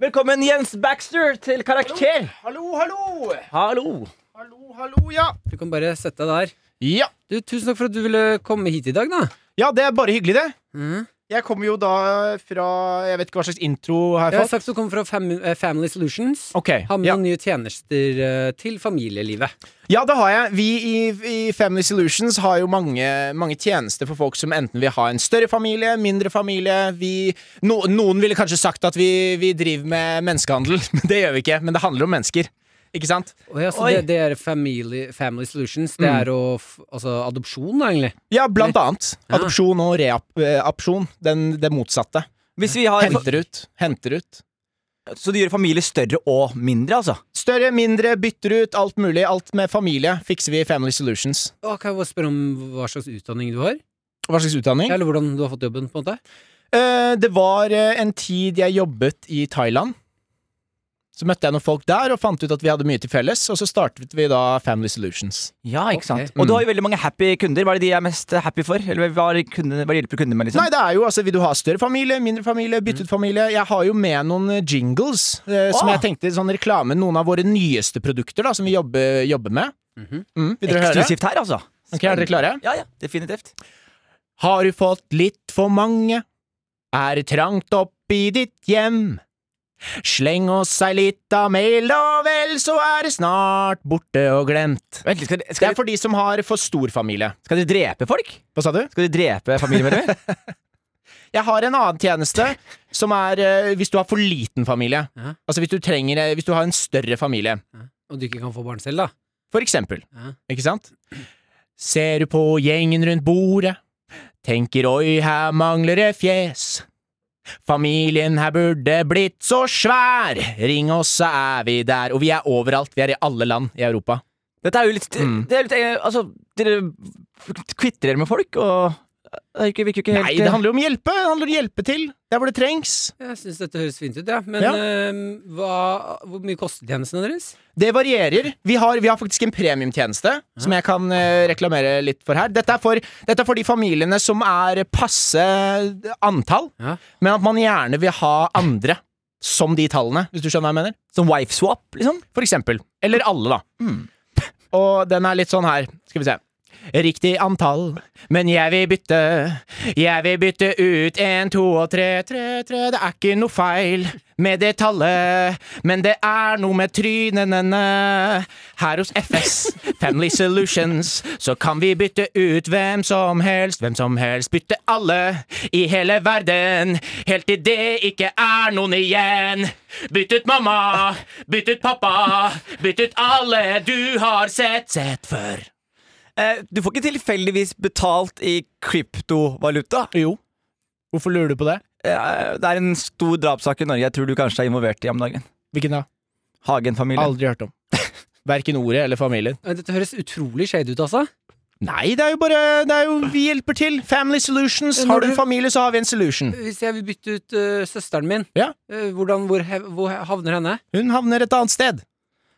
S3: Velkommen, Jens Baxter, til Karakter.
S4: Hallo, hallo!
S3: Hallo.
S4: Hallo, hallo, ja.
S2: Du kan bare sette deg der.
S4: Ja.
S2: Du, tusen takk for at du ville komme hit i dag, da.
S4: Ja, det er bare hyggelig, det.
S2: Mhm.
S4: Jeg kommer jo da fra Jeg vet ikke hva slags intro har
S2: Jeg
S4: jeg
S2: har
S4: fått.
S2: sagt du kommer fra fam eh, Family Solutions.
S4: Ok,
S2: Har med
S4: ja.
S2: noen nye tjenester eh, til familielivet.
S4: ja, det har jeg. Vi i, i Family Solutions har jo mange, mange tjenester for folk som enten vil ha en større familie, mindre familie vi, no, Noen ville kanskje sagt at vi, vi driver med menneskehandel, *laughs* men det gjør vi ikke. Men det handler om mennesker. Ikke sant?
S2: Og ja, så
S3: Oi.
S2: det, det er family, family Solutions. Det
S4: Mm.
S2: er å f Altså adopsjon, da, egentlig.
S4: Ja, blant annet. Adopsjon og reapsjon. Det motsatte.
S3: Hvis vi har
S4: Henter ut. Henter ut.
S3: Så du gjør familier større og mindre, altså?
S4: Større, mindre, bytter ut, alt mulig. Alt med familie fikser vi i Family Solutions.
S2: Og kan jeg bare spørre om hva slags utdanning du har?
S4: Hva slags utdanning?
S2: Eller hvordan du har fått jobben, på en måte?
S4: Eh, det var eh, en tid jeg jobbet i Thailand. Så møtte jeg noen folk der og fant ut at vi hadde mye til felles, og så startet vi da Family Solutions.
S3: Ja, ikke sant? Mm.
S2: Ok.
S3: Og du har jo veldig mange happy kunder. Hva er det de er mest happy for? Eller hva, er kundene, hva hjelper kundene med? liksom?
S4: Nei, det er jo altså, vil du ha større familie, mindre familie, byttet familie? Jeg har jo med noen eh, jingles, eh, som
S3: Ah.
S4: jeg tenkte sånn reklame, noen av våre nyeste produkter da, som vi jobber, jobber med. Mm, vil dere høre?
S3: Eksklusivt her, altså.
S4: Ok, er dere klare?
S3: Ja, ja, definitivt.
S4: Har du fått litt for mange? Er det trangt opp i ditt hjem? Sleng oss ei lita mail, da vel, så er det snart borte og glemt.
S3: Vent litt, skal, de-
S4: Det
S3: skal,
S4: er for de som har for stor familie.
S3: de- skal de drepe folk?
S4: Hva sa du?
S3: Skal de drepe *laughs* familiemedlemmer?
S4: Jeg har en annen tjeneste, som er eh, hvis du har for liten familie.
S2: Ja.
S4: Altså hvis du, trenger, eh, hvis du har en større familie.
S2: Og du ikke kan få barn selv, da?
S4: For eksempel.
S2: Ja.
S4: Ikke sant? Ser du på gjengen rundt bordet, tenker oi, her mangler det fjes. Familien her burde blitt så svær! Ring oss, så er vi der. Og vi er overalt. Vi er i alle land i Europa.
S3: Dette er jo litt,
S4: Mm.
S3: det er litt eh, Altså, dere kvitrer med folk, og det virker virker jo ikke helt
S4: Nei, det handler jo om hjelpe. Det handler om å hjelpe til der hvor det trengs.
S2: Jeg syns dette høres fint ut, ja. Men
S4: Ja.
S2: eh, hva, hvor mye koster tjenestene deres?
S4: Det varierer. Vi har, vi har faktisk en premiumtjeneste som jeg kan eh, reklamere litt for her. Dette er for, dette er for de familiene som er passe antall,
S2: Ja.
S4: men at man gjerne vil ha andre som de tallene, hvis du skjønner hva jeg mener.
S3: Som wife swap, liksom?
S4: For eksempel. Eller alle, da. Og den er litt sånn her. Skal vi se. Riktig antall, men jeg vil bytte. Jeg vil bytte ut en, to og tre, tre, tre. Det er ikke noe feil med det tallet, men det er noe med trynene. Her hos FS, Family Solutions, så kan vi bytte ut hvem som helst. Hvem som helst. Bytte alle i hele verden, helt til det ikke er noen igjen. Bytt ut mamma, bytt ut pappa, bytt ut alle du har sett, sett før.
S3: Eh, du får ikke tilfeldigvis betalt i kryptovaluta?
S4: Jo. Hvorfor lurer du på det?
S3: Eh, det er en stor drapssak i Norge jeg tror du kanskje er involvert i om dagen.
S4: Hvilken da?
S3: Hagen-familien.
S4: Aldri *laughs* hørt om. Verken ordet eller familien.
S2: Eh, Dette høres utrolig shade ut, altså.
S4: Nei, det er jo bare det er jo, Vi hjelper til. Family solutions. Har du en familie, så har vi en solution.
S2: Hvis jeg vil bytte ut eh, søsteren min,
S4: Ja.
S2: eh, hvordan, hvor, hev- hvor havner henne?
S4: Hun havner et annet sted.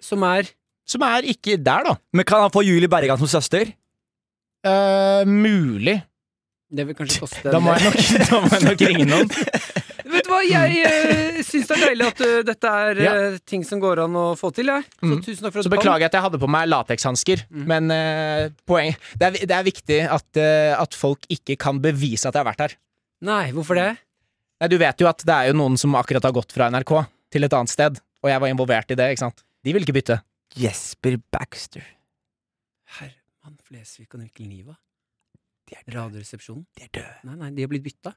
S2: Som er
S4: Som er ikke der, da.
S3: Men kan han få Julie Bergan som søster?
S4: Eh, mulig.
S2: Det vil kanskje koste en
S4: Da må,
S2: del.
S4: jeg nok, *laughs* da må jeg nok ringe noen.
S2: Vet du hva, jeg uh, syns det er deilig at eh, dette er eh, ting som går an å få til, jeg. Så
S4: Mm.
S2: tusen takk for at
S4: *laughs* Så
S2: du kom.
S4: beklager jeg at jeg hadde på meg latekshansker, men eh, poeng det er, det er viktig at, eh, at folk ikke kan bevise at jeg har vært her.
S2: Nei, hvorfor det?
S4: Nei, Du vet jo at det er jo noen som akkurat har gått fra NRK til et annet sted. og jeg var involvert i det, ikke sant? De ville ikke bytte.
S3: Jesper Baxter.
S2: Herman Flesvig og Mikkel Niva. De er Radioresepsjonen. De er døde. Nei, nei, de har blitt bytta.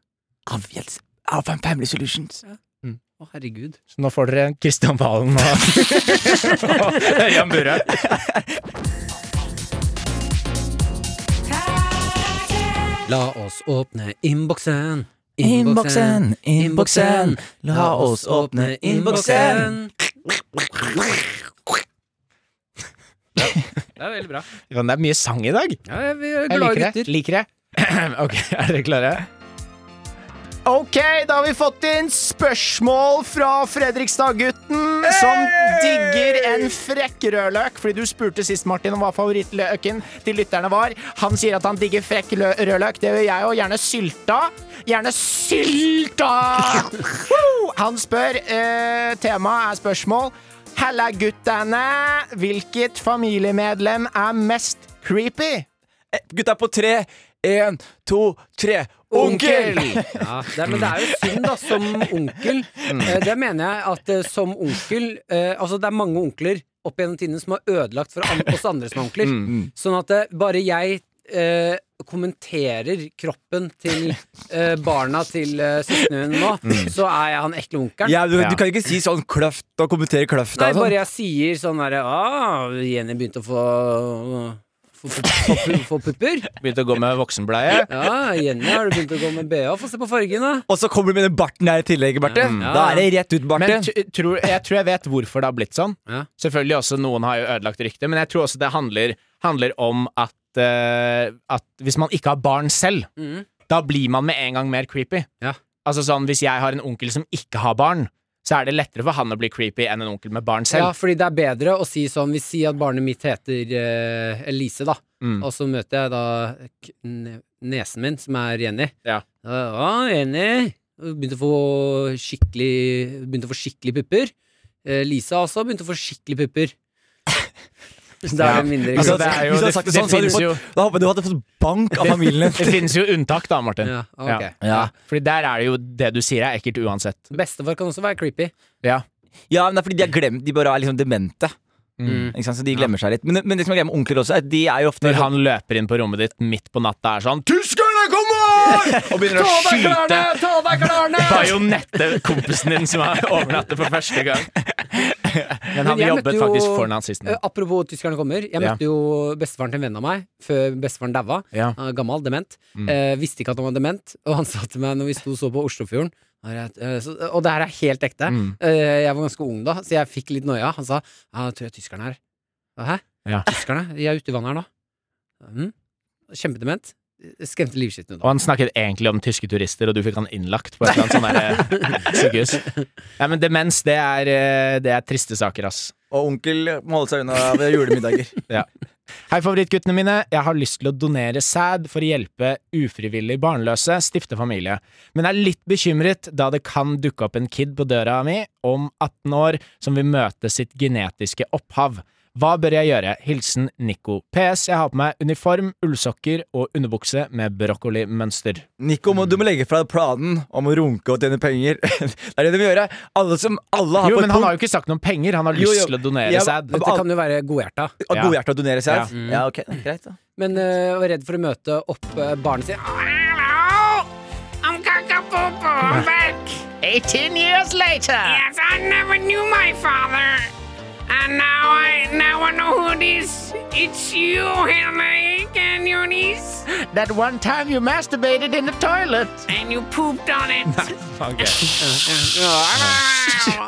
S3: Av Alpha Family Solutions.
S2: Å, herregud.
S4: Så nå får dere Kristian Valen og, og *laughs* Jan Burre.
S2: La oss åpne innboksen.
S3: Innboksen, innboksen, la oss åpne innboksen.
S2: Det er veldig bra.
S4: Ron, det er mye sang i dag.
S2: Ja, ja, vi er
S4: Jeg
S2: glade
S4: liker det.
S2: gutter.
S4: Liker det. *clears throat* ok, er dere klare? Ok, da har vi fått inn spørsmål fra Fredrikstad-gutten, som digger en frekk rødløk. Fordi du spurte sist, Martin, om hva favorittløken til lytterne var. Han sier at han digger frekk lø- rødløk. Det gjør jeg òg. Gjerne sylta. Gjerne
S3: *laughs*
S4: sylta! Woo! Han spør eh, Temaet er spørsmål. Halla, guttene. Hvilket familiemedlem er mest creepy?
S3: Eh, Gutta på tre. Én, to, tre. Onkel!
S2: Ja, det, er- men det er jo synd, da, som onkel. Eh, Det mener jeg at eh, som onkel eh, Altså, det er mange onkler opp gjennom tidene som har ødelagt for an oss andre som er onkler. Sånn at eh, bare jeg eh, kommenterer kroppen til eh, barna til eh, søstrene mine nå, så er jeg han ekle onkelen.
S3: Ja, du,
S4: Ja.
S3: du kan ikke si sånn kløft og kommentere kløfta.
S2: Nei,
S3: og sånn.
S2: bare jeg sier sånn herre ah, Jenny begynte å få få, pu- få, pu- få pupper.
S4: Begynte å gå med voksenbleie.
S2: Ja, Jenny, har du begynt å gå med BH? Få se på fargen, da.
S3: Og så kommer du med den barten her i tillegg, Barte.
S2: Ja.
S3: Da er det rett ut, Barte.
S4: Mm. Men t- tror, jeg tror jeg vet hvorfor det har blitt sånn.
S2: Ja.
S4: Selvfølgelig også noen har jo ødelagt ryktet, men jeg tror også det handler, handler om at, eh, at hvis man ikke har barn selv,
S2: Mhm.
S4: da blir man med en gang mer creepy.
S2: Ja.
S4: Altså sånn, Hvis jeg har en onkel som ikke har barn, så er det lettere for han å bli creepy enn en onkel med barn
S2: Ja,
S4: selv.
S2: fordi det er bedre å si sånn Vi sier at barnet mitt heter eh, Elise, da.
S4: Mm.
S2: Og så møter jeg da k ne- nesen min, som er Jenny.
S4: Ja.
S2: Å, Jenny. Begynte å få skikkelig Begynte å få skikkelig pupper. Eh, Lisa også begynte å få skikkelig
S4: *laughs*
S2: pupper. Så da er det mindre
S4: Altså,
S2: greit.
S4: det er jo-
S3: Hvis du hadde
S4: det-
S3: sagt det
S4: det
S3: sånn, så hadde du
S4: finnes
S3: fått-
S4: jo-
S3: Da håper jeg du hadde fått bank av familien.
S4: Det finnes jo unntak, da, Martin.
S2: ja, ok.
S4: Ja. Fordi der er det jo det du sier er ekkelt uansett.
S2: Bestefar kan også være creepy.
S4: Ja.
S3: Ja, men det er fordi de har glemt De bare er liksom demente. Ikke sant? Så de glemmer seg litt. Men, men det som er greia med onkler også, er at de er jo ofte
S4: Mm. Når han løper inn på rommet ditt midt på natta er sånn 'Tyskerne *laughs* kommer!' og begynner å skyte
S2: ta av deg
S4: *laughs*
S2: klærne!
S4: bajonette kompisen din som har overnattet for første gang. Men
S2: Men
S4: han
S2: jeg
S4: jobbet
S2: møtte jo-
S4: faktisk for nazistene.
S2: Eh, Apropos tyskerne kommer. Jeg
S4: Ja.
S2: møtte jo bestefaren til en venn av meg før bestefaren daua.
S4: Ja.
S2: Han er Gammel, dement. Eh, visste ikke at han var dement, og han sa til meg når vi sto og så på Oslofjorden han er et, eh, så, Og det her er helt ekte. Eh, jeg var ganske ung da, så jeg fikk litt noia. Han sa ja, jeg tror jeg er tyskerne her. Hæ?
S4: Ja.
S2: Tyskerne? De er ute i vannet her nå. Mm. Kjempedement. Skremte livskiten ut
S4: Og
S2: av
S4: han snakket egentlig om tyske turister, og du fikk han innlagt på et eller annet sånt der, eh, sykehus.
S2: *laughs*
S4: Ja, men demens, det er, eh, det er triste saker, ass.
S3: Og onkel må holde seg unna ved julemiddager. *laughs*
S4: Hei, favorittguttene mine. Jeg har lyst til å donere sæd for å hjelpe ufrivillig barnløse stifte familie, men er litt bekymret da det kan dukke opp en kid på døra mi om 18 år som vil møte sitt genetiske opphav. Hva bør jeg gjøre? Hilsen Nico. PS. Jeg har på meg uniform, ullsokker og underbukse med brokkolimønster.
S3: Nico, må, du må legge fra deg planen om å runke og tjene penger. *laughs* det er det du må gjøre. Alle som Alle har
S4: Jo,
S3: på
S4: men
S3: et
S4: han har
S3: punkt
S4: jo ikke sagt noe om penger. Han har
S3: Jo,
S4: lyst
S3: jo.
S4: til å donere
S3: Ja,
S4: sæd. *laughs*
S2: Dette kan jo være godhjerta,
S3: har
S4: Ja.
S3: godhjerte å donere seg.
S4: Ja.
S3: Ja. ja, ok, greit da
S2: men eh, var redd for å møte opp eh, barnet sitt.
S7: Hello! I'm Kakapopo. I'm back.
S4: 18 years later!
S7: Yes, I never knew my father. And now I now I know who it is. It's you, Henrik, and your niece.
S4: That one time you masturbated in the toilet!
S7: And you pooped on it.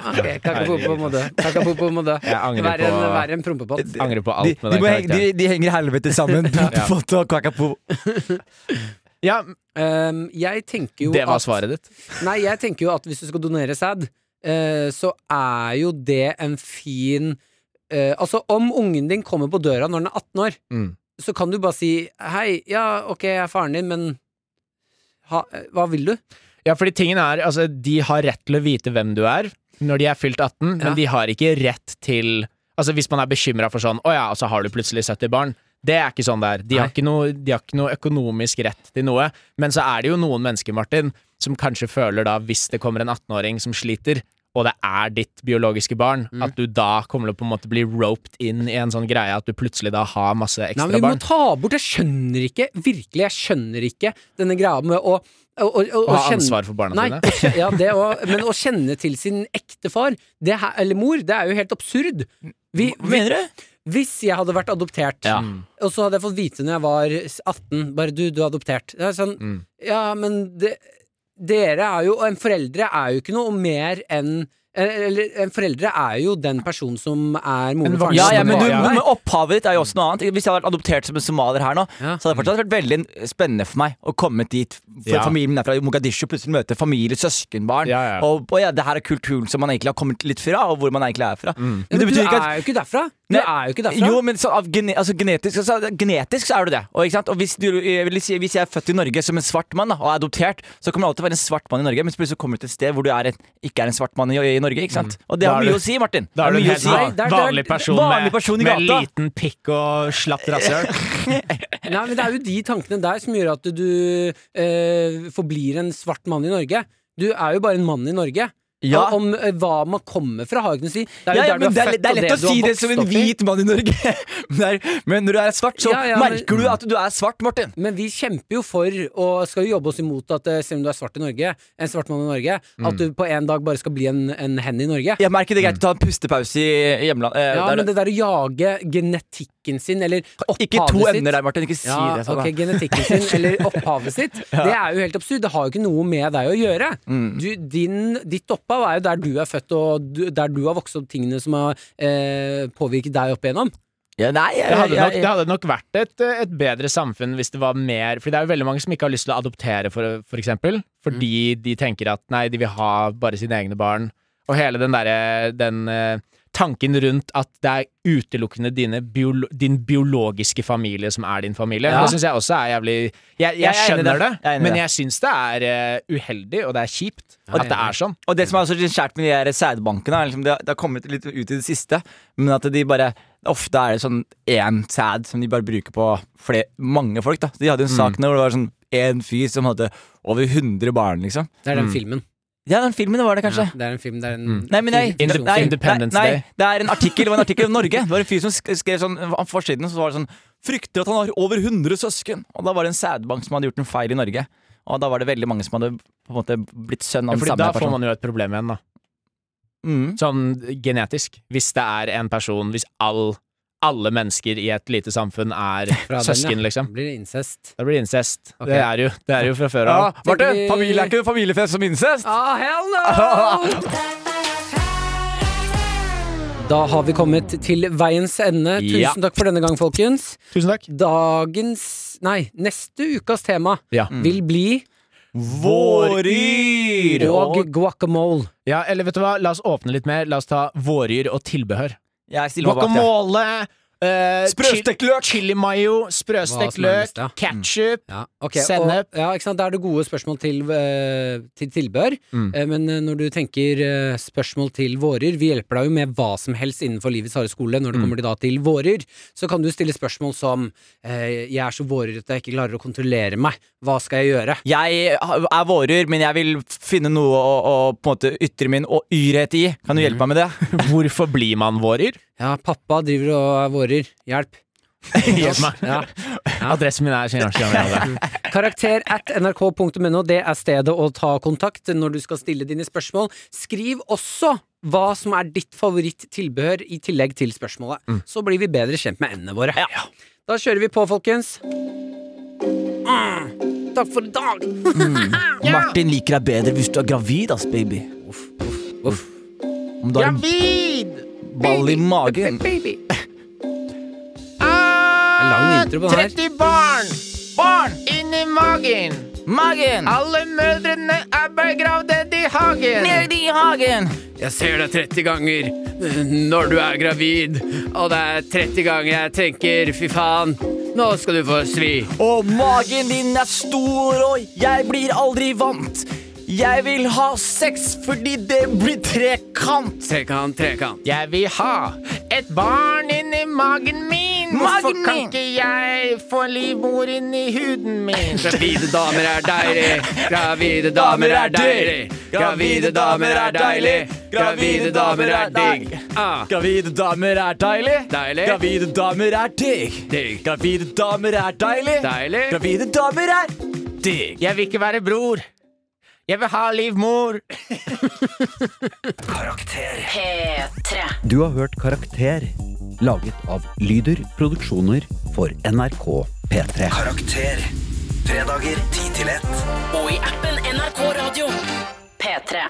S2: Ok, Kakapopo må dø. Kakapopo må dø.
S4: Jeg angrer
S2: Vær en,
S4: på-
S2: vær en prompepott.
S4: Angrer på
S3: De,
S4: alt med
S3: de,
S4: den
S3: må henge,
S4: karakteren.
S3: de, de henger i helvete
S4: *laughs*
S3: sammen. Prompepott og kakapo.
S4: Ja,
S2: Um, jeg tenker jo
S4: det var
S2: at,
S4: svaret ditt.
S2: Nei, jeg tenker jo at hvis du skal donere sæd, eh, så er jo det en fin eh, Altså, om ungen din kommer på døra når den er 18 år,
S4: Mm.
S2: så kan du bare si hei, ja, ok, jeg er faren din, men ha, eh, hva vil du?
S4: Ja, fordi tingen er, altså, de har rett til å vite hvem du er når de er fylt 18,
S2: Ja.
S4: men de har ikke rett til Altså, hvis man er bekymra for sånn 'Å ja, og så har du plutselig 70 barn'. Det er ikke sånn det er. De har
S2: Nei.
S4: ikke, noe, de har ikke noe økonomisk rett til noe. Men så er det jo noen mennesker, Martin, som kanskje føler da, hvis det kommer en 18-åring som sliter, og det er ditt biologiske barn,
S2: Mm.
S4: at du da kommer til å på en måte bli roped inn i en sånn greie at du plutselig da har masse
S2: Nei,
S4: ekstra
S2: men vi må
S4: barn.
S2: ta bort Jeg skjønner ikke, virkelig, jeg skjønner ikke denne greia med å å- å- å-
S4: Og
S2: å
S4: ha
S2: kjenne-
S4: ansvar for barna
S2: Nei,
S4: dine.
S2: kje- ja, det også, men å kjenne til sin ekte far, det her, eller mor, det er jo helt absurd. Vi, vi,
S3: du?
S2: hvis jeg hadde vært adoptert, og så hadde jeg fått vite når jeg var 18 Bare du, du er adoptert. Det er sånn,
S4: Mm.
S2: Ja, men det, dere er jo og En foreldre er jo ikke noe mer enn eh, eller, en foreldre er jo den personen som er moren
S4: En
S2: og faren.
S3: Ja,
S4: Som
S3: ja, men, du,
S4: det var.
S3: men opphavet ditt er jo også noe annet. Hvis jeg hadde vært adoptert som en somalier her nå,
S2: Ja.
S3: så hadde det fortsatt vært veldig spennende for meg å komme dit. For
S4: Ja.
S3: Familien min er fra Mogadishu, plutselig møte familie, søskenbarn.
S4: Ja, ja.
S3: Og, og ja, det her er kulturen som man egentlig har kommet litt fra, og hvor man egentlig er
S4: Mm.
S3: fra.
S2: Ja,
S3: Men det
S2: men du
S3: betyr ikke at
S2: er jo ikke derfra! Du
S3: Nei,
S2: er jo ikke derfra.
S3: Jo, men så, av gene, altså, genetisk, altså, genetisk så er du det. Og, ikke sant? og hvis, du, jeg vil si, hvis jeg er født i Norge som en svart mann da, og er adoptert, så kommer det alltid være en svart mann i Norge, men så plutselig kommer du til et sted hvor du er en, ikke er en svart mann i, i Norge. Ikke sant? Og det
S4: Mm. Da
S3: har
S4: er
S3: mye
S4: du-
S3: å si, Martin.
S4: Da er du en
S3: Det har mye å
S4: helt
S3: si.
S2: Nei,
S4: van-
S2: det er- det er-
S4: vanlig person,
S3: vanlig person i
S4: med, med
S3: gata.
S4: liten pikk og slapt rasshøl.
S2: *laughs* Nei, men det er jo de tankene der som gjør at du eh, forblir en svart mann i Norge. Du er jo bare en mann i Norge.
S3: Ja.
S2: Og om eh, hva man kommer fra, har jo ikke noe å si. Det er jo
S3: Ja, ja,
S2: der du
S3: men
S2: er
S3: det, er,
S2: født,
S3: det er
S2: og
S3: lett å
S2: du har
S3: si det
S2: vokst
S3: som en
S2: opp i.
S3: hvit mann i Norge, *laughs* men, det er, men når du er svart, så
S2: Ja, ja, men-
S3: merker du at du er svart, Martin.
S2: Men vi kjemper jo for, og skal jo jobbe oss imot, at eh, selv om du er svart i Norge, en svart mann i Norge, at du på en dag bare skal bli en, en hen i Norge.
S3: Jeg merker Mm. det er greit å ta en pustepause i hjemlandet. Eh,
S2: Ja,
S3: der-
S2: men det der å jage genetikken sin, eller opphavet sitt
S3: ikke to emner der, Martin. Ikke si
S2: ja,
S3: det sånn.
S2: ok,
S3: da.
S2: genetikken
S3: *laughs*
S2: sin, eller opphavet sitt, det er jo helt absurd. Det har jo ikke noe med deg å gjøre.
S3: Mm.
S2: Du, din, ditt opphav er jo der du er født, og du, der du har vokst opp tingene som har eh, påvirket deg opp igjennom.
S3: Ja, nei, jeg,
S4: Det hadde, nok,
S3: jeg-
S4: det hadde nok vært et, et bedre samfunn hvis det var mer For det er jo veldig mange som ikke har lyst til å adoptere, for, for eksempel. Fordi
S3: Mm.
S4: de tenker at nei, de vil ha bare sine egne barn. Og hele den derre den eh, tanken rundt at det er utelukkende dine biolo din biologiske familie som er din familie.
S3: Ja.
S4: Det syns jeg også er jævlig Jeg, jeg,
S3: Jeg er enig i
S4: skjønner det,
S3: det. Jeg er enig i
S4: men
S3: det.
S4: jeg syns det er eh, uheldig, og det er kjipt at det er sånn.
S3: Og det som er så kjært med de her sædbankene, er liksom det, det har kommet litt ut i det siste, men at de bare Ofte er det sånn én sæd som de bare bruker på fle- mange folk. da De hadde jo en sak nå hvor det var sånn én fyr som hadde over 100 barn, liksom.
S2: Det er den filmen.
S3: Ja, den filmen var det kanskje.
S2: Ja, det er en film, det er en
S3: Nei, men nei,
S2: film-
S4: Indep-
S3: nei,
S4: Independence
S3: nei, nei,
S4: Day.
S3: Det er en artikkel, det var en artikkel om Norge. Det var en fyr som sk- skrev sånn på forsiden, så var det sånn Frykter at han har over 100 søsken. Og da var det en sædbank som hadde gjort en feil i Norge. Og da var det veldig mange som hadde på en måte blitt sønn
S4: Ja,
S3: av den
S4: fordi
S3: samme
S4: da får
S3: personen.
S4: man jo et problem igjen, da.
S3: Mm.
S4: Sånn genetisk. Hvis det er en person Hvis all, alle mennesker i et lite samfunn er
S2: fra den,
S4: søsken,
S2: ja.
S4: liksom.
S2: Blir det incest?
S4: Da blir det incest.
S2: Ok.
S4: Det, er jo, det er jo fra før av.
S3: Ja, Martin,
S2: Tenker vi-
S3: familie er ikke familiefest som incest.
S2: Ah, hell no! Da har vi kommet til veiens ende. Tusen
S4: Ja.
S2: takk for denne gang, folkens.
S4: Tusen takk.
S2: Dagens, nei, neste ukas tema
S4: Ja.
S2: vil bli
S3: Våryr!
S2: og guacamole.
S4: ja, eller vet du hva, la oss åpne litt mer. La oss ta vårdyr og tilbehør.
S3: Jeg stiller meg bak det.
S4: Guacamole, eh,
S3: Sprøstekt
S4: chi-
S3: løk.
S4: chili mayo,
S2: Hva
S4: sprøstekt
S2: som er
S4: løk,
S2: best, ja. Mm.
S4: ketsjup
S2: Ja, ok, og-
S4: Sennep.
S2: Ja, ikke sant? Da er det gode spørsmål til, eh, til tilbehør.
S4: Mm.
S2: Eh, Men eh, når du tenker eh, spørsmål til vårer Vi hjelper deg jo med hva som helst innenfor livets harde skole når det kommer til, da, til vårer. Så kan du stille spørsmål som eh, 'Jeg er så vårer at jeg ikke klarer å kontrollere meg. Hva skal jeg gjøre?'
S3: Jeg er vårer, men jeg vil finne noe å, å på en måte ytre min og yrhet i. Kan du hjelpe meg med det?
S4: *laughs* Hvorfor blir man vårer?
S2: Ja, pappa driver og er vårer. Hjelp.
S4: Hjelp meg.
S2: Ja.
S4: Adressen min er Kinashi.
S2: Karakter at nrk.no, det er stedet å ta kontakt når du skal stille dine spørsmål. Skriv også hva som er ditt favoritt-tilbehør i tillegg til spørsmålet. Så blir vi bedre kjent med endene våre. Da kjører vi på, folkens. Mm. Takk for i dag!
S3: Martin liker deg bedre hvis du er gravid, ass, baby.
S2: Uff.
S3: Om du har en
S7: Gravid!
S3: ball i magen.
S7: Baby.
S2: Det er lang intro på den her.
S7: 30 barn
S3: Barn!
S7: inni magen.
S3: Magen!
S7: Alle mødrene er begravd i hagen.
S3: Ned i hagen!
S2: Jeg ser deg 30 ganger når du er gravid, og det er 30 ganger jeg tenker fy faen, nå skal du få svi.
S3: Og magen din er stor, og jeg blir aldri vant. Jeg vil ha sex fordi det blir trekant.
S2: Trekant, trekant.
S7: Jeg vil ha et barn inni magen min. Hvorfor
S3: Magen
S7: kan
S3: min.
S7: ikke jeg få livmor inni huden min?
S2: Gravide damer er deilig, gravide
S3: damer er deilig. Gravide damer er deilig. Gravide damer er digg.
S9: Ah,
S3: Gravide damer er deilig.
S9: Deilig.
S3: Gravide damer er digg.
S9: Digg.
S3: Gravide damer er deilig.
S9: Deilig.
S3: Gravide damer er digg.
S4: Jeg vil ikke være bror. Jeg vil ha livmor.
S5: P3.
S2: Du har hørt Karakter, laget av Lyder Produksjoner for NRK P3.
S10: Karakter. Fredager 10 til 1.
S5: Og i appen NRK Radio. P3.